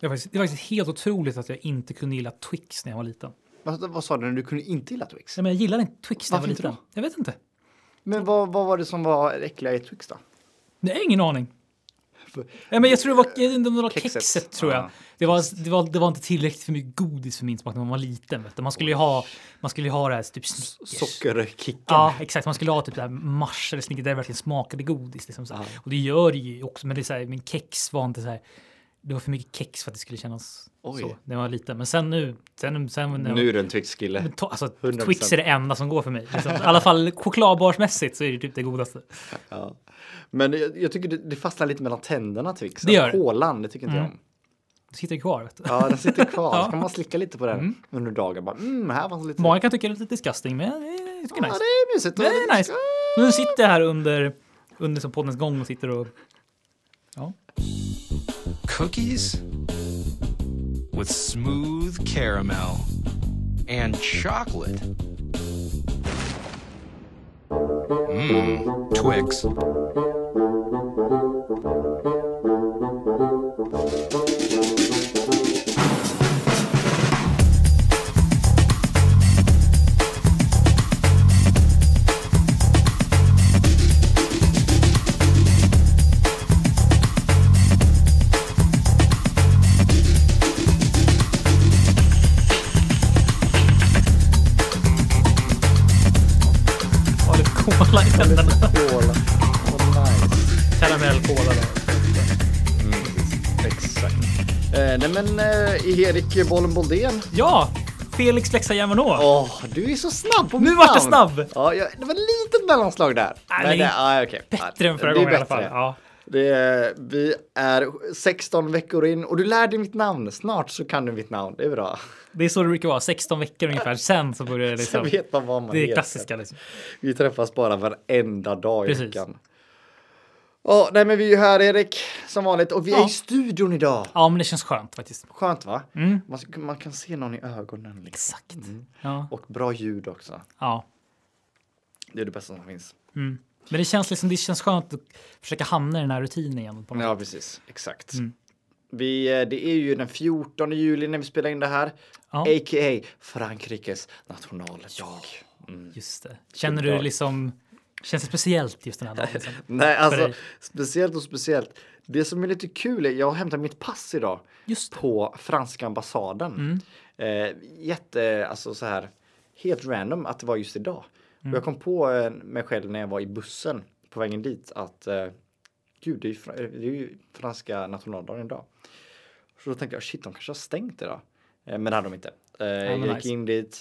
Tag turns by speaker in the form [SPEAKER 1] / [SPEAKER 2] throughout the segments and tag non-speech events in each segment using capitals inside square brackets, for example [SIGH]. [SPEAKER 1] Det är, faktiskt, det är faktiskt helt otroligt att jag inte kunde gilla Twix när jag var liten.
[SPEAKER 2] Vad, vad sa du? Du kunde inte gilla Twix?
[SPEAKER 1] Nej, men jag gillade inte Twix när jag var
[SPEAKER 2] Varför inte
[SPEAKER 1] liten. Jag vet inte.
[SPEAKER 2] Men vad, vad var det som var äckliga i Twix då?
[SPEAKER 1] Nej, ingen aning. Nej, men jag tror det var, jag vet inte om det var
[SPEAKER 2] Kexet.
[SPEAKER 1] kexet, tror jag.
[SPEAKER 2] Ja.
[SPEAKER 1] Det, var, det, var, det var inte tillräckligt för mycket godis för min smak när man var liten. Vet du. Man skulle ju ha, man skulle ju ha det här typ Snickers.
[SPEAKER 2] Sockerkicken.
[SPEAKER 1] Ja, exakt. Man skulle ha typ det här mars eller snickers där det verkligen smakade godis. Liksom, så här. Och det gör det ju också, men det är så här, min kex var inte så här. Det var för mycket kex för att det skulle kännas
[SPEAKER 2] Oj.
[SPEAKER 1] så när jag var liten. Men sen nu, sen, sen när jag
[SPEAKER 2] Nu är du en Twix-kille.
[SPEAKER 1] men to- alltså,
[SPEAKER 2] 100%.
[SPEAKER 1] Twix är det enda som går för mig. Liksom. I alla fall chokladbarsmässigt så är det typ det godaste.
[SPEAKER 2] Ja. Men jag, jag tycker det, det fastnar lite mellan tänderna Twix.
[SPEAKER 1] Det gör det.
[SPEAKER 2] Kolan, det tycker inte jag om.
[SPEAKER 1] Det sitter ju kvar. Vet du.
[SPEAKER 2] Ja, den sitter
[SPEAKER 1] [LAUGHS]
[SPEAKER 2] kvar.
[SPEAKER 1] Ja.
[SPEAKER 2] Så kan man slicka lite på den under dagen. Bara, mm, här fanns lite...
[SPEAKER 1] Många kan tycka det är lite disgusting, men eh, jag tycker det
[SPEAKER 2] Ja,
[SPEAKER 1] är
[SPEAKER 2] det
[SPEAKER 1] nice.
[SPEAKER 2] är mysigt.
[SPEAKER 1] Det är nice. Nu sitter jag här under, under som poddens gång och sitter och... Ja.
[SPEAKER 3] cookies with smooth caramel and chocolate. Mmm, Mmm, Twix.
[SPEAKER 1] Har lite cola i tänderna.
[SPEAKER 2] Kola. Vad nice.
[SPEAKER 1] Karamellkola. där.
[SPEAKER 2] Exakt. Eh, nej men eh, Erik Bollen Boldén.
[SPEAKER 1] Ja! Felix Lexa Järvanå.
[SPEAKER 2] Åh, du är så snabb på
[SPEAKER 1] Nu
[SPEAKER 2] mitt
[SPEAKER 1] vart jag
[SPEAKER 2] namn.
[SPEAKER 1] snabb.
[SPEAKER 2] Ja, jag, det var ett litet mellanslag
[SPEAKER 1] Nej,
[SPEAKER 2] där. Men
[SPEAKER 1] det är
[SPEAKER 2] det- ja, okej.
[SPEAKER 1] Bättre än
[SPEAKER 2] Det
[SPEAKER 1] förra
[SPEAKER 2] är
[SPEAKER 1] gången i alla fall.
[SPEAKER 2] bättre.
[SPEAKER 1] Ja.
[SPEAKER 2] Det är, vi är 16 veckor in och du lär dig mitt namn. Snart så kan du mitt namn. Det är bra.
[SPEAKER 1] Det är så det brukar vara, 16 veckor ungefär. Sen så börjar det
[SPEAKER 2] [LAUGHS] Så
[SPEAKER 1] liksom...
[SPEAKER 2] vet man vad man
[SPEAKER 1] Det är
[SPEAKER 2] heter.
[SPEAKER 1] klassiska liksom.
[SPEAKER 2] Vi träffas bara varenda dag i
[SPEAKER 1] Precis.
[SPEAKER 2] veckan. Ja, nej, men vi är ju här Erik som vanligt och vi är
[SPEAKER 1] Ja.
[SPEAKER 2] i studion idag.
[SPEAKER 1] Ja, men det känns skönt faktiskt.
[SPEAKER 2] Skönt va?
[SPEAKER 1] Mm.
[SPEAKER 2] Man, ska- man kan se någon i ögonen. Liksom.
[SPEAKER 1] Exakt. Ja.
[SPEAKER 2] Och bra ljud också.
[SPEAKER 1] ja.
[SPEAKER 2] Det är det bästa som finns.
[SPEAKER 1] Mm. Men det känns, liksom, det känns skönt att försöka hamna i den här rutinen igen. På något
[SPEAKER 2] Ja, precis. Exakt.
[SPEAKER 1] Mm.
[SPEAKER 2] Vi, eh, det är ju den 14 juli när vi spelar in det här.
[SPEAKER 1] Ja.
[SPEAKER 2] A.k.a. Frankrikes nationaldag. Mm.
[SPEAKER 1] sätt. Just det. Känner du liksom... Känns det speciellt just den här
[SPEAKER 2] [LAUGHS]
[SPEAKER 1] dagen? Liksom?
[SPEAKER 2] Nej, alltså
[SPEAKER 1] dig.
[SPEAKER 2] speciellt och speciellt. Det som är lite kul är jag hämtar mitt pass idag
[SPEAKER 1] Just det. Mm.
[SPEAKER 2] på franska ambassaden. Eh, jätte, alltså så här helt random att det var just idag.
[SPEAKER 1] Mm.
[SPEAKER 2] Och jag kom på eh, mig själv när jag var i bussen på vägen dit att eh, gud, det är, ju, fra- eh, det är ju franska nationaldagen idag. Så då tänkte jag shit, de kanske har stängt idag. Eh, men det hade de inte. Eh, jag
[SPEAKER 1] men
[SPEAKER 2] gick
[SPEAKER 1] nice.
[SPEAKER 2] in dit.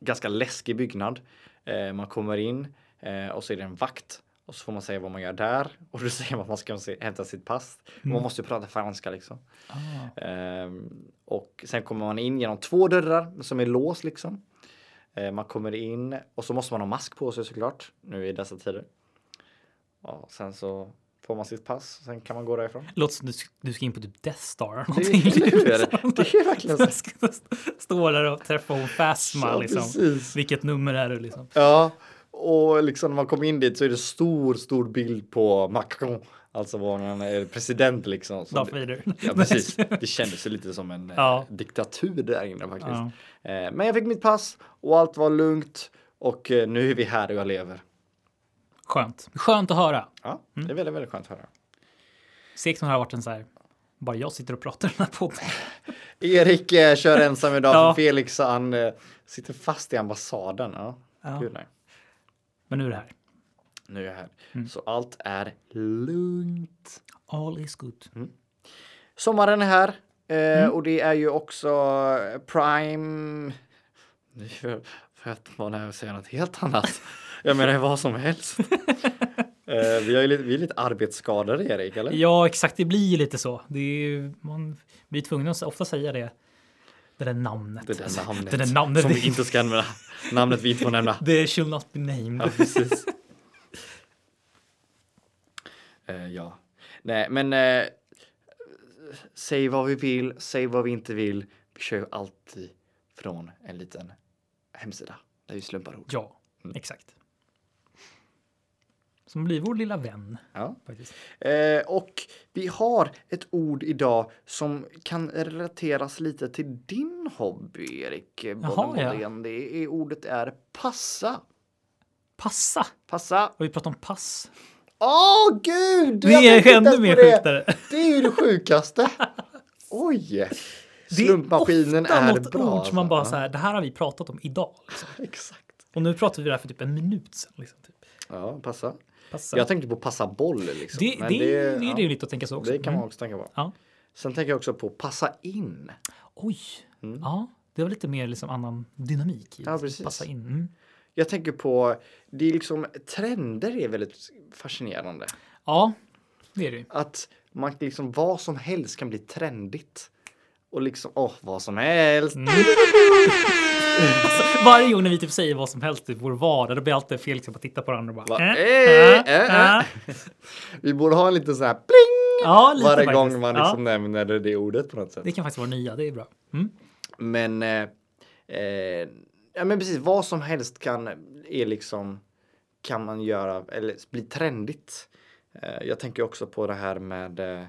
[SPEAKER 2] Ganska läskig byggnad. Eh, man kommer in eh, och så är det en vakt och så får man säga vad man gör där och då säger man att man ska se- hämta sitt pass.
[SPEAKER 1] Mm.
[SPEAKER 2] Man måste ju prata franska liksom.
[SPEAKER 1] Ah.
[SPEAKER 2] Ehm, och sen kommer man in genom två dörrar som är lås liksom. Ehm, man kommer in och så måste man ha mask på sig såklart nu i dessa tider. Ja, sen så får man sitt pass, sen kan man
[SPEAKER 1] [LAUGHS]
[SPEAKER 2] gå därifrån.
[SPEAKER 1] Låter som du, sk- du ska in på typ Death Star eller
[SPEAKER 2] Det är,
[SPEAKER 1] någonting. liksom.
[SPEAKER 2] eller hur? det
[SPEAKER 1] [LAUGHS]
[SPEAKER 2] är verkligen så.
[SPEAKER 1] Står där och träffar hon Phasma
[SPEAKER 2] Ja,
[SPEAKER 1] liksom.
[SPEAKER 2] precis.
[SPEAKER 1] Vilket nummer är du liksom?
[SPEAKER 2] Ja, och liksom när man kom in dit så är det stor, stor bild på Macron, alltså våran eh, president liksom. som-
[SPEAKER 1] Darth Vader. [LAUGHS]
[SPEAKER 2] Ja, precis. Det kändes ju lite som en eh,
[SPEAKER 1] Ja.
[SPEAKER 2] diktatur där inne faktiskt. Eh, Men jag fick mitt pass och allt var lugnt och eh, nu är vi här och jag lever.
[SPEAKER 1] Skönt. Skönt att höra.
[SPEAKER 2] Ja,
[SPEAKER 1] Mm.
[SPEAKER 2] det är väldigt, väldigt skönt att höra.
[SPEAKER 1] Segt om det har varit en så här. Bara jag sitter och pratar i den här podden.
[SPEAKER 2] Erik eh, kör ensam idag
[SPEAKER 1] Ja.
[SPEAKER 2] för Felix han eh, sitter fast i ambassaden. Ja.
[SPEAKER 1] Ja.
[SPEAKER 2] Gud, nej.
[SPEAKER 1] Men nu är det här.
[SPEAKER 2] Nu är jag här.
[SPEAKER 1] Mm.
[SPEAKER 2] Så allt är lugnt.
[SPEAKER 1] All is good.
[SPEAKER 2] Sommaren är här eh, och det är ju också eh, Prime. Nu för, för att man är och säger något helt annat. Jag menar vad som helst. [LAUGHS] eh, vi, har ju lite, vi är lite arbetsskadade Erik, eller?
[SPEAKER 1] Ja, exakt. Det blir ju lite så. Det är, ju- man blir tvungen att ofta säga det. Det där namnet.
[SPEAKER 2] Det där namnet,
[SPEAKER 1] Det där namnet.
[SPEAKER 2] som
[SPEAKER 1] Det,
[SPEAKER 2] vi inte ska använda. Namnet vi inte får nämna.
[SPEAKER 1] [LAUGHS] det shall not be named.
[SPEAKER 2] Ja, precis. [LAUGHS] eh, ja. Nej, men eh, säg vad vi vill, säg vad vi inte vill. Vi kör ju alltid från en liten hemsida där vi slumpar ord.
[SPEAKER 1] Ja, exakt. Som blir vår lilla vän.
[SPEAKER 2] Ja.
[SPEAKER 1] Faktiskt.
[SPEAKER 2] Eh, och vi har ett ord idag som kan relateras lite till din hobby, Erik. Jaha,
[SPEAKER 1] ja.
[SPEAKER 2] ja. Det är, ordet är passa.
[SPEAKER 1] Passa!
[SPEAKER 2] Passa.
[SPEAKER 1] Och vi pratar om pass.
[SPEAKER 2] Åh gud!
[SPEAKER 1] Det
[SPEAKER 2] jag tänkte
[SPEAKER 1] är
[SPEAKER 2] inte
[SPEAKER 1] ännu
[SPEAKER 2] ens
[SPEAKER 1] mer
[SPEAKER 2] på det.
[SPEAKER 1] sjuktare.
[SPEAKER 2] Det är ju det [LAUGHS] sjukaste. Oj! [LAUGHS] Slumpmaskinen
[SPEAKER 1] ofta
[SPEAKER 2] är,
[SPEAKER 1] något
[SPEAKER 2] bra.
[SPEAKER 1] ord som man
[SPEAKER 2] alltså.
[SPEAKER 1] bara så här, det här har vi pratat om idag. Liksom.
[SPEAKER 2] Ja, Exakt.
[SPEAKER 1] Och nu pratar vi det här för typ en minut sedan. Liksom, typ.
[SPEAKER 2] Ja, passa.
[SPEAKER 1] Passa.
[SPEAKER 2] Jag tänkte på passa boll liksom.
[SPEAKER 1] det, det,
[SPEAKER 2] men
[SPEAKER 1] är- det är
[SPEAKER 2] ja,
[SPEAKER 1] rimligt att tänka så också.
[SPEAKER 2] Det kan
[SPEAKER 1] Mm.
[SPEAKER 2] man också tänka på.
[SPEAKER 1] ja.
[SPEAKER 2] Sen tänker jag också på passa in.
[SPEAKER 1] Oj, ja, det var lite mer liksom annan dynamik. I
[SPEAKER 2] Mm. Ja,
[SPEAKER 1] att
[SPEAKER 2] precis.
[SPEAKER 1] Passa in. Mm.
[SPEAKER 2] Jag tänker på, det är liksom, trender är väldigt fascinerande.
[SPEAKER 1] Ja, det är det ju.
[SPEAKER 2] Att man liksom, vad som helst kan bli trendigt. Och liksom, åh, vad som helst.
[SPEAKER 1] Alltså, varje gång när vi typ säger vad som helst i vår vardag, då blir alltid fel liksom, att titta på varandra och bara...
[SPEAKER 2] Va?
[SPEAKER 1] eh,
[SPEAKER 2] Eh,
[SPEAKER 1] eh,
[SPEAKER 2] eh,
[SPEAKER 1] eh.
[SPEAKER 2] [LAUGHS] Vi borde ha en liten sån här pling!
[SPEAKER 1] Ja, lite
[SPEAKER 2] Varje
[SPEAKER 1] faktiskt.
[SPEAKER 2] gång man
[SPEAKER 1] Ja.
[SPEAKER 2] liksom nämner det ordet på något sätt.
[SPEAKER 1] Det kan faktiskt vara nya, det är bra. Mm.
[SPEAKER 2] Men, eh, eh, ja men precis, vad som helst kan, är liksom, kan man göra, eller bli trendigt. Eh, jag tänker också på det här med, eh,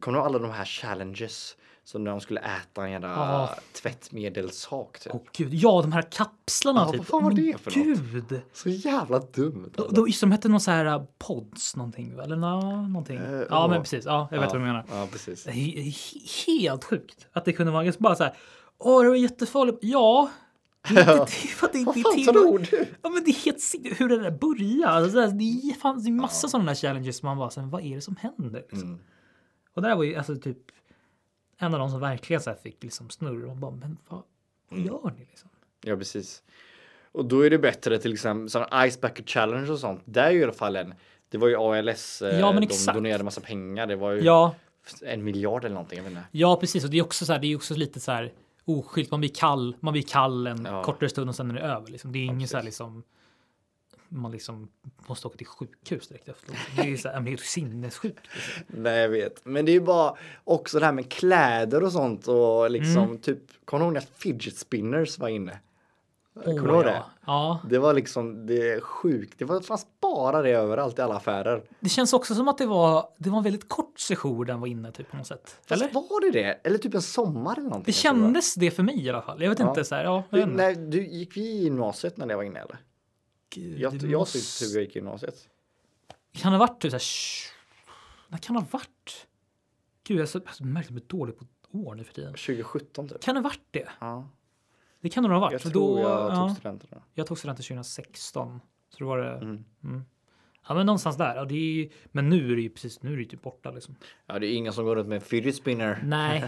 [SPEAKER 2] kommer du ihåg alla de här challenges? Som när de skulle äta en jävla
[SPEAKER 1] Ja.
[SPEAKER 2] tvättmedelssak typ.
[SPEAKER 1] Åh gud, ja de här kapslarna
[SPEAKER 2] Ja,
[SPEAKER 1] typ.
[SPEAKER 2] vad fan var
[SPEAKER 1] Men
[SPEAKER 2] det för något?
[SPEAKER 1] Gud!
[SPEAKER 2] Så jävla dumt.
[SPEAKER 1] De,
[SPEAKER 2] alltså.
[SPEAKER 1] de, som hette någon så här eh, pods någonting, va? eller nå, någonting.
[SPEAKER 2] Eh,
[SPEAKER 1] ja,
[SPEAKER 2] åh.
[SPEAKER 1] men precis. Ja, jag vet
[SPEAKER 2] ja,
[SPEAKER 1] vad du menar.
[SPEAKER 2] Ja, precis.
[SPEAKER 1] Det är he- helt sjukt att det kunde vara ganska bara så här. Åh, det var jättefarligt. Ja, det
[SPEAKER 2] [LAUGHS]
[SPEAKER 1] är inte till, för att det
[SPEAKER 2] Vad
[SPEAKER 1] inte
[SPEAKER 2] fan
[SPEAKER 1] är
[SPEAKER 2] tror
[SPEAKER 1] till.
[SPEAKER 2] du?
[SPEAKER 1] Ja, men det är helt sinnessjukt hur det där börjar. Alltså, det, är, det, är, fan, det är massa sådana där challenges som man bara, så här, vad är det som händer? Liksom.
[SPEAKER 2] Mm.
[SPEAKER 1] Och det där var ju alltså typ en av de som verkligen så här fick liksom snurr. Man bara, men vad, vad
[SPEAKER 2] Mm.
[SPEAKER 1] gör ni liksom?
[SPEAKER 2] Ja, precis. Och då är det bättre till exempel sådana Ice Bucket Challenge och sånt. Där är ju i alla fall en, det var ju ALS, eh,
[SPEAKER 1] Ja, men
[SPEAKER 2] de
[SPEAKER 1] exakt.
[SPEAKER 2] donerade massa pengar. Det var ju
[SPEAKER 1] Ja,
[SPEAKER 2] en miljard eller någonting. Jag vet inte.
[SPEAKER 1] ja precis. Och det är också så här, det är också lite så här oskyldigt. Man blir kall, man blir kall en
[SPEAKER 2] Ja.
[SPEAKER 1] kortare stund och sen är det över. Liksom. Det är ingen så här
[SPEAKER 2] precis.
[SPEAKER 1] liksom man liksom måste åka till sjukhus direkt efteråt. Det är ju så här, men det är ju sinnessjukt. Liksom.
[SPEAKER 2] Nej, jag vet. Men det är ju bara också det här med kläder och sånt och liksom
[SPEAKER 1] Mm.
[SPEAKER 2] typ, kommer du ihåg när fidget spinners var inne? Kommer du
[SPEAKER 1] Åh,
[SPEAKER 2] ihåg
[SPEAKER 1] ja.
[SPEAKER 2] det?
[SPEAKER 1] Ja,
[SPEAKER 2] Det var liksom, det är sjukt. Det var, fanns bara det överallt i alla affärer.
[SPEAKER 1] det känns också som att det var. Det var en väldigt kort session den var inne typ på något sätt.
[SPEAKER 2] Fast
[SPEAKER 1] Eller?
[SPEAKER 2] var det det? Eller typ en sommar eller någonting?
[SPEAKER 1] Det
[SPEAKER 2] jag tror var.
[SPEAKER 1] kändes det för mig i alla fall. Jag vet
[SPEAKER 2] Ja.
[SPEAKER 1] inte så här. Ja, jag
[SPEAKER 2] Du,
[SPEAKER 1] vet inte.
[SPEAKER 2] nej, du, gick vi i gymnasiet när det var inne eller?
[SPEAKER 1] Gud,
[SPEAKER 2] Jag,
[SPEAKER 1] det
[SPEAKER 2] jag
[SPEAKER 1] måste-
[SPEAKER 2] tyckte jag gick i gymnasiet.
[SPEAKER 1] Kan det ha varit typ såhär... tj- När kan det ha varit? Gud, jag är så jag är så märkligt dålig på år nu för tiden.
[SPEAKER 2] 2017 typ.
[SPEAKER 1] Kan det ha varit det?
[SPEAKER 2] Ja.
[SPEAKER 1] Det kan det nog ha varit.
[SPEAKER 2] Jag
[SPEAKER 1] för
[SPEAKER 2] tror jag
[SPEAKER 1] ja,
[SPEAKER 2] tog studenten. då.
[SPEAKER 1] jag tog studenten 2016. Så då var det...
[SPEAKER 2] Mm.
[SPEAKER 1] Mm. Ja, men någonstans där. Ja, det är, ju- men nu är det ju precis, nu är det ju typ borta liksom.
[SPEAKER 2] Ja, det är ingen som går runt med en fidget spinner. [LAUGHS]
[SPEAKER 1] Nej,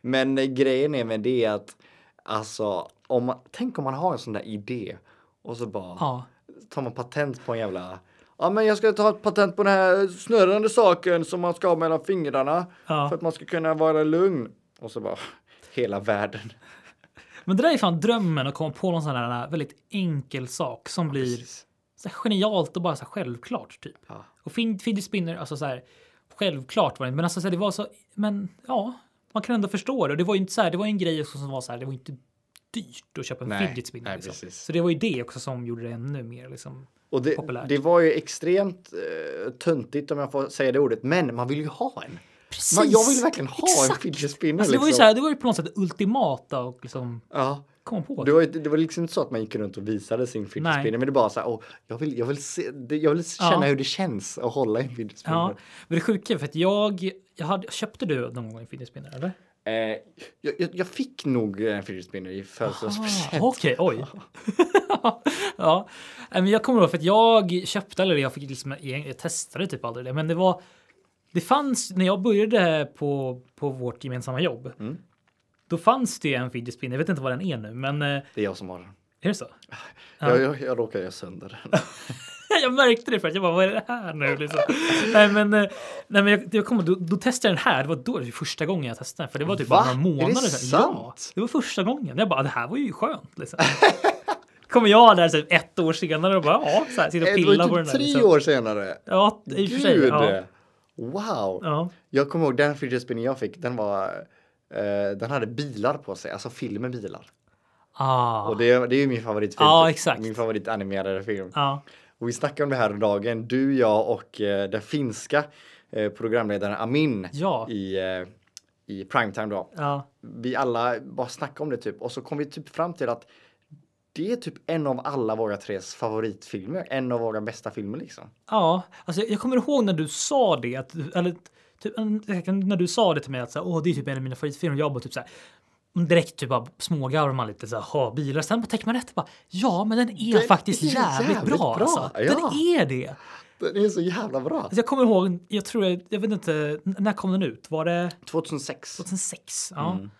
[SPEAKER 2] Men eh, grejen är med det att alltså, om man, tänk om man har en sån där idé och så bara
[SPEAKER 1] ja.
[SPEAKER 2] tar man patent på en jävla Ja men jag ska ta ett patent på den här snurrande saken som man ska ha mellan fingrarna
[SPEAKER 1] Ja.
[SPEAKER 2] för att man ska kunna vara lugn. Och så bara [LAUGHS] hela världen.
[SPEAKER 1] Men det där är fan drömmen att komma på någon sån här väldigt enkel sak som blir
[SPEAKER 2] Precis.
[SPEAKER 1] så här genialt och bara så här självklart typ.
[SPEAKER 2] Ja.
[SPEAKER 1] Och fin- fidget spinner, alltså så här, självklart var det inte, men alltså så här, det var så, men ja, man kan ändå förstå det. Och det var ju inte så här, det var ju en grej också som var så här, det var ju inte dyrt att köpa en
[SPEAKER 2] Nej,
[SPEAKER 1] fidget spinner.
[SPEAKER 2] nej,
[SPEAKER 1] liksom.
[SPEAKER 2] precis.
[SPEAKER 1] Så det var ju det också som gjorde det ännu mer liksom.
[SPEAKER 2] Och det,
[SPEAKER 1] Populärt.
[SPEAKER 2] det var ju extremt eh, töntigt om jag får säga det ordet, men man vill ju ha en.
[SPEAKER 1] Precis!
[SPEAKER 2] Man, jag vill verkligen ha en
[SPEAKER 1] Exakt.
[SPEAKER 2] fidget spinner.
[SPEAKER 1] Alltså, det var ju
[SPEAKER 2] liksom.
[SPEAKER 1] så här, det var ju på något sätt det ultimata och liksom
[SPEAKER 2] Ja.
[SPEAKER 1] komma på
[SPEAKER 2] Det
[SPEAKER 1] det.
[SPEAKER 2] var, ju- det var liksom inte så att man gick runt och visade sin fidget
[SPEAKER 1] Nej.
[SPEAKER 2] spinner, men det bara så här, åh, jag vill, jag vill, se, det- jag vill känna
[SPEAKER 1] Ja.
[SPEAKER 2] hur det känns att hålla i en fidget spinner.
[SPEAKER 1] Ja, men det sjuka är för att jag, jag hade, köpte du någon gång en fidget spinner eller?
[SPEAKER 2] Eh, jag, jag, jag fick nog en fidget spinner i
[SPEAKER 1] Ah,
[SPEAKER 2] födelsedagspresent.
[SPEAKER 1] Okej, oj. [LAUGHS] ja, Nej, men jag kommer ihåg för att jag köpte eller jag fick liksom jag testade typ aldrig det, men det var. Det fanns när jag började på på vårt gemensamma jobb.
[SPEAKER 2] Mm.
[SPEAKER 1] Då fanns det ju en fidget spinner. Jag vet inte vad den är nu, men eh,
[SPEAKER 2] Det är jag som har den.
[SPEAKER 1] är det så? Ja.
[SPEAKER 2] Jag, jag, jag råkar göra sönder den.
[SPEAKER 1] [LAUGHS] jag märkte det för att jag bara, vad är det här nu? Liksom. [LAUGHS] nej, men, eh, nej, men jag, jag kommer, då, då testade jag den här. Det var då det var första gången jag testade den, för det var typ
[SPEAKER 2] Va?
[SPEAKER 1] bara några
[SPEAKER 2] Är det
[SPEAKER 1] månader sedan. Ja,
[SPEAKER 2] sant?
[SPEAKER 1] det var första gången. Jag bara, det här var ju skönt. Liksom. [LAUGHS] kommer jag där typ ett år senare och bara, ja, så här, sitter och
[SPEAKER 2] Det var ju
[SPEAKER 1] pillar på den
[SPEAKER 2] typ
[SPEAKER 1] där.
[SPEAKER 2] tre
[SPEAKER 1] liksom.
[SPEAKER 2] år senare.
[SPEAKER 1] Ja, i och för sig.
[SPEAKER 2] Gud!
[SPEAKER 1] Ja,
[SPEAKER 2] Wow!
[SPEAKER 1] ja.
[SPEAKER 2] Jag kommer ihåg den fidget spinner jag fick, den var eh, den hade bilar på sig, alltså film med bilar.
[SPEAKER 1] Ah,
[SPEAKER 2] Och det, det är ju min favoritfilm.
[SPEAKER 1] Ja, exakt.
[SPEAKER 2] Min favoritanimerade film.
[SPEAKER 1] ja.
[SPEAKER 2] Och vi snackade om det här om dagen, du, jag och eh, den finska eh, programledaren Amin
[SPEAKER 1] Ja.
[SPEAKER 2] i, eh, i primetime då.
[SPEAKER 1] Ja.
[SPEAKER 2] Vi alla bara snackade om det typ och så kom vi typ fram till att det är typ en av alla våra tres favoritfilmer, en av våra bästa filmer liksom.
[SPEAKER 1] Ja, alltså jag, jag kommer ihåg när du sa det. Att, eller, typ, en- säkert när du sa det till mig att så här, Åh, det är typ en av mina favoritfilmer. Jag bara typ så här. Direkt typ bara smågarvar man lite så här, "Ha, bilar. Sen på täcker man rätt bara, ja men den är
[SPEAKER 2] Den
[SPEAKER 1] faktiskt
[SPEAKER 2] är
[SPEAKER 1] jävligt,
[SPEAKER 2] jävligt
[SPEAKER 1] bra.
[SPEAKER 2] bra,
[SPEAKER 1] Alltså.
[SPEAKER 2] ja.
[SPEAKER 1] Den är det. Alltså,
[SPEAKER 2] Den är så jävla bra.
[SPEAKER 1] jag kommer ihåg, jag tror, jag, jag vet inte, n- när kom den ut? Var det
[SPEAKER 2] 2006.
[SPEAKER 1] 2006? Ja.
[SPEAKER 2] Mm.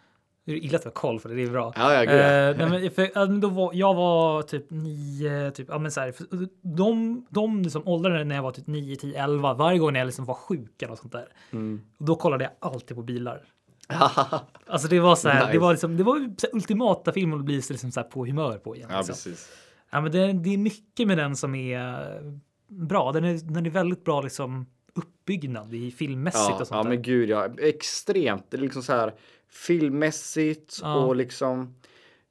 [SPEAKER 1] Det är illa att vi har koll för det, det är bra.
[SPEAKER 2] Ja, ja, gud, ja.
[SPEAKER 1] Eh, nej, men för, ja, men då var, jag var typ 9, typ, ja, men så här, för de, de liksom åldrade när jag var typ 9, 10, 11, varje gång när jag liksom var sjuk eller något sånt där.
[SPEAKER 2] Mm.
[SPEAKER 1] Då kollade jag alltid på
[SPEAKER 2] [LAUGHS]
[SPEAKER 1] bilar. Alltså det var så här, det
[SPEAKER 2] Nice.
[SPEAKER 1] var liksom, det var ju så här ultimata filmen att bli så liksom så här på humör på igen.
[SPEAKER 2] Ja,
[SPEAKER 1] liksom.
[SPEAKER 2] precis.
[SPEAKER 1] ja, men det, det är mycket med den som är eh, bra. Den är, den är väldigt bra liksom uppbyggnad i filmmässigt
[SPEAKER 2] Ja,
[SPEAKER 1] och sånt
[SPEAKER 2] ja
[SPEAKER 1] där.
[SPEAKER 2] men gud ja, extremt. Det är liksom så här filmmässigt
[SPEAKER 1] Ja.
[SPEAKER 2] och liksom.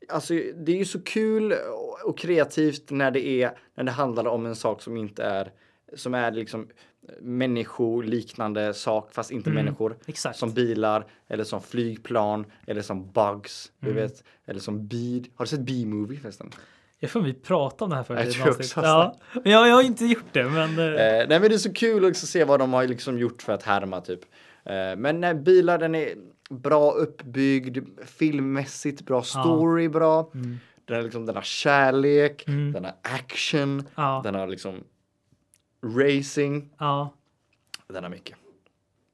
[SPEAKER 2] Alltså det är ju så kul och- och kreativt när det är när det handlar om en sak som inte är som är liksom människoliknande sak fast inte
[SPEAKER 1] Mm,
[SPEAKER 2] människor.
[SPEAKER 1] exakt.
[SPEAKER 2] Som bilar eller som flygplan eller som bugs.
[SPEAKER 1] Mm.
[SPEAKER 2] Du vet, eller som bid. Har du sett B-movie förresten?
[SPEAKER 1] Jag får vi pratade om det här förut.
[SPEAKER 2] Jag
[SPEAKER 1] i ett
[SPEAKER 2] tror
[SPEAKER 1] avsnitt.
[SPEAKER 2] också att-
[SPEAKER 1] ja. Men jag, jag har inte gjort det, men eh,
[SPEAKER 2] Eh, nej men det är så kul också att se vad de har liksom gjort för att härma typ. Eh, men nej, bilar den är bra uppbyggd, filmmässigt bra, story bra. Den, är liksom, den har kärlek, den har action,
[SPEAKER 1] Ja.
[SPEAKER 2] den har liksom racing,
[SPEAKER 1] ja.
[SPEAKER 2] den har mycket.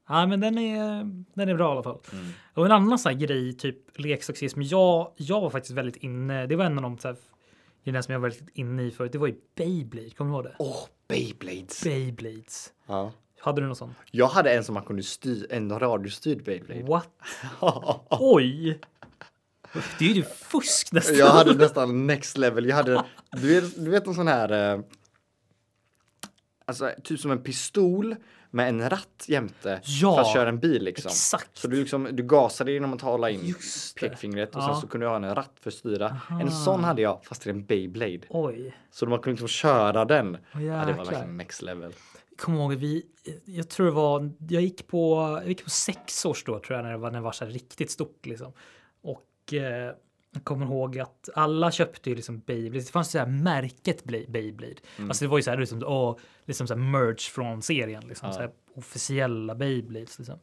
[SPEAKER 1] Ja, men den är, den är bra i alla fall.
[SPEAKER 2] Mm.
[SPEAKER 1] Och en annan sån här grej, typ leksaksism. Jag, jag var faktiskt väldigt inne. Det var en av de så här, grejerna som jag var väldigt inne i förut. Det var ju Beyblade. Kommer du ihåg det?
[SPEAKER 2] Åh, oh, Beyblades!
[SPEAKER 1] Beyblades.
[SPEAKER 2] Ja.
[SPEAKER 1] Hade du någon sån?
[SPEAKER 2] Jag hade en som man kunde styra, en radiostyrd Beyblade.
[SPEAKER 1] What?
[SPEAKER 2] [LAUGHS]
[SPEAKER 1] Oj! Det är ju fusk nästan.
[SPEAKER 2] Jag hade nästan next level. Jag hade, du vet, du vet en sån här, eh, alltså typ som en pistol med en ratt jämte
[SPEAKER 1] Ja,
[SPEAKER 2] för att köra en bil liksom.
[SPEAKER 1] Exakt.
[SPEAKER 2] Så du, liksom, du gasade genom att tala in
[SPEAKER 1] Just det.
[SPEAKER 2] pekfingret och
[SPEAKER 1] Ja.
[SPEAKER 2] sen så kunde jag ha en ratt för att styra. En sån hade jag fast i en Beyblade.
[SPEAKER 1] Oj.
[SPEAKER 2] Så man kunde liksom köra den. ja, det
[SPEAKER 1] jäklar.
[SPEAKER 2] var verkligen next level.
[SPEAKER 1] kommer ihåg, vi, jag tror det var, jag gick på, jag gick på sex års då tror jag när det var, när det var så här riktigt stort liksom. Och eh, jag kommer ihåg att alla köpte ju liksom Beyblade. Det fanns ju så här märket Bla- Beyblade. Alltså det var ju så här liksom, åh, liksom så här merch från serien liksom. Så här officiella Beyblades liksom.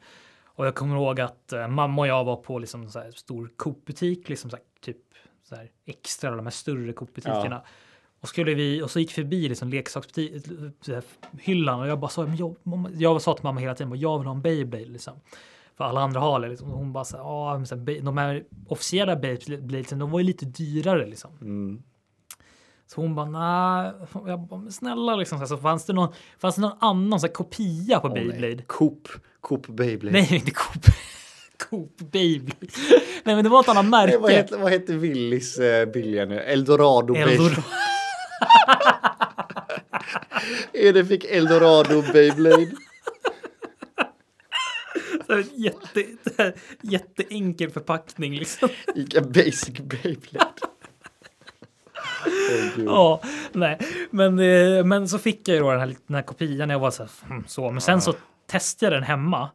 [SPEAKER 1] Och jag kommer ihåg att eh, mamma och jag var på liksom så här stor Coop-butik, liksom så här, typ så här extra, de här större Coop-butikerna. Och, skulle vi, och så gick vi förbi liksom leksaksbuti- så här hyllan och jag bara sa, men jag, mamma, jag sa till mamma hela tiden, jag vill ha en Beyblade liksom. För alla andra har det. Liksom. Och Hon bara så här, "Ja, men så här, Bey- de här officiella Beyblades, de var ju lite dyrare liksom.
[SPEAKER 2] Mm.
[SPEAKER 1] Så hon bara, nej, Och jag bara, men snälla liksom. Så, här, så fanns, det någon, fanns det någon annan så här, kopia på
[SPEAKER 2] Åh, nej.
[SPEAKER 1] Beyblade?
[SPEAKER 2] Coop, Coop Beyblade.
[SPEAKER 1] Nej, inte Coop. [LAUGHS] Coop Beyblade. Nej, men det var ett annat
[SPEAKER 2] Nej, vad,
[SPEAKER 1] märke.
[SPEAKER 2] heter, vad heter Willys eh, billiga nu? Eldorado Beyblade. [LAUGHS]
[SPEAKER 1] Eldor. [LAUGHS]
[SPEAKER 2] Edith fick Eldorado Beyblade.
[SPEAKER 1] Så här, Jätte, så här, jätteenkel förpackning liksom.
[SPEAKER 2] Ica Basic Beyblade. Åh, gud.
[SPEAKER 1] Ja, nej. Men, eh, men så fick jag ju då den här, lit- den här kopian när jag var så här, "Hmm, så. Men sen så testade jag den hemma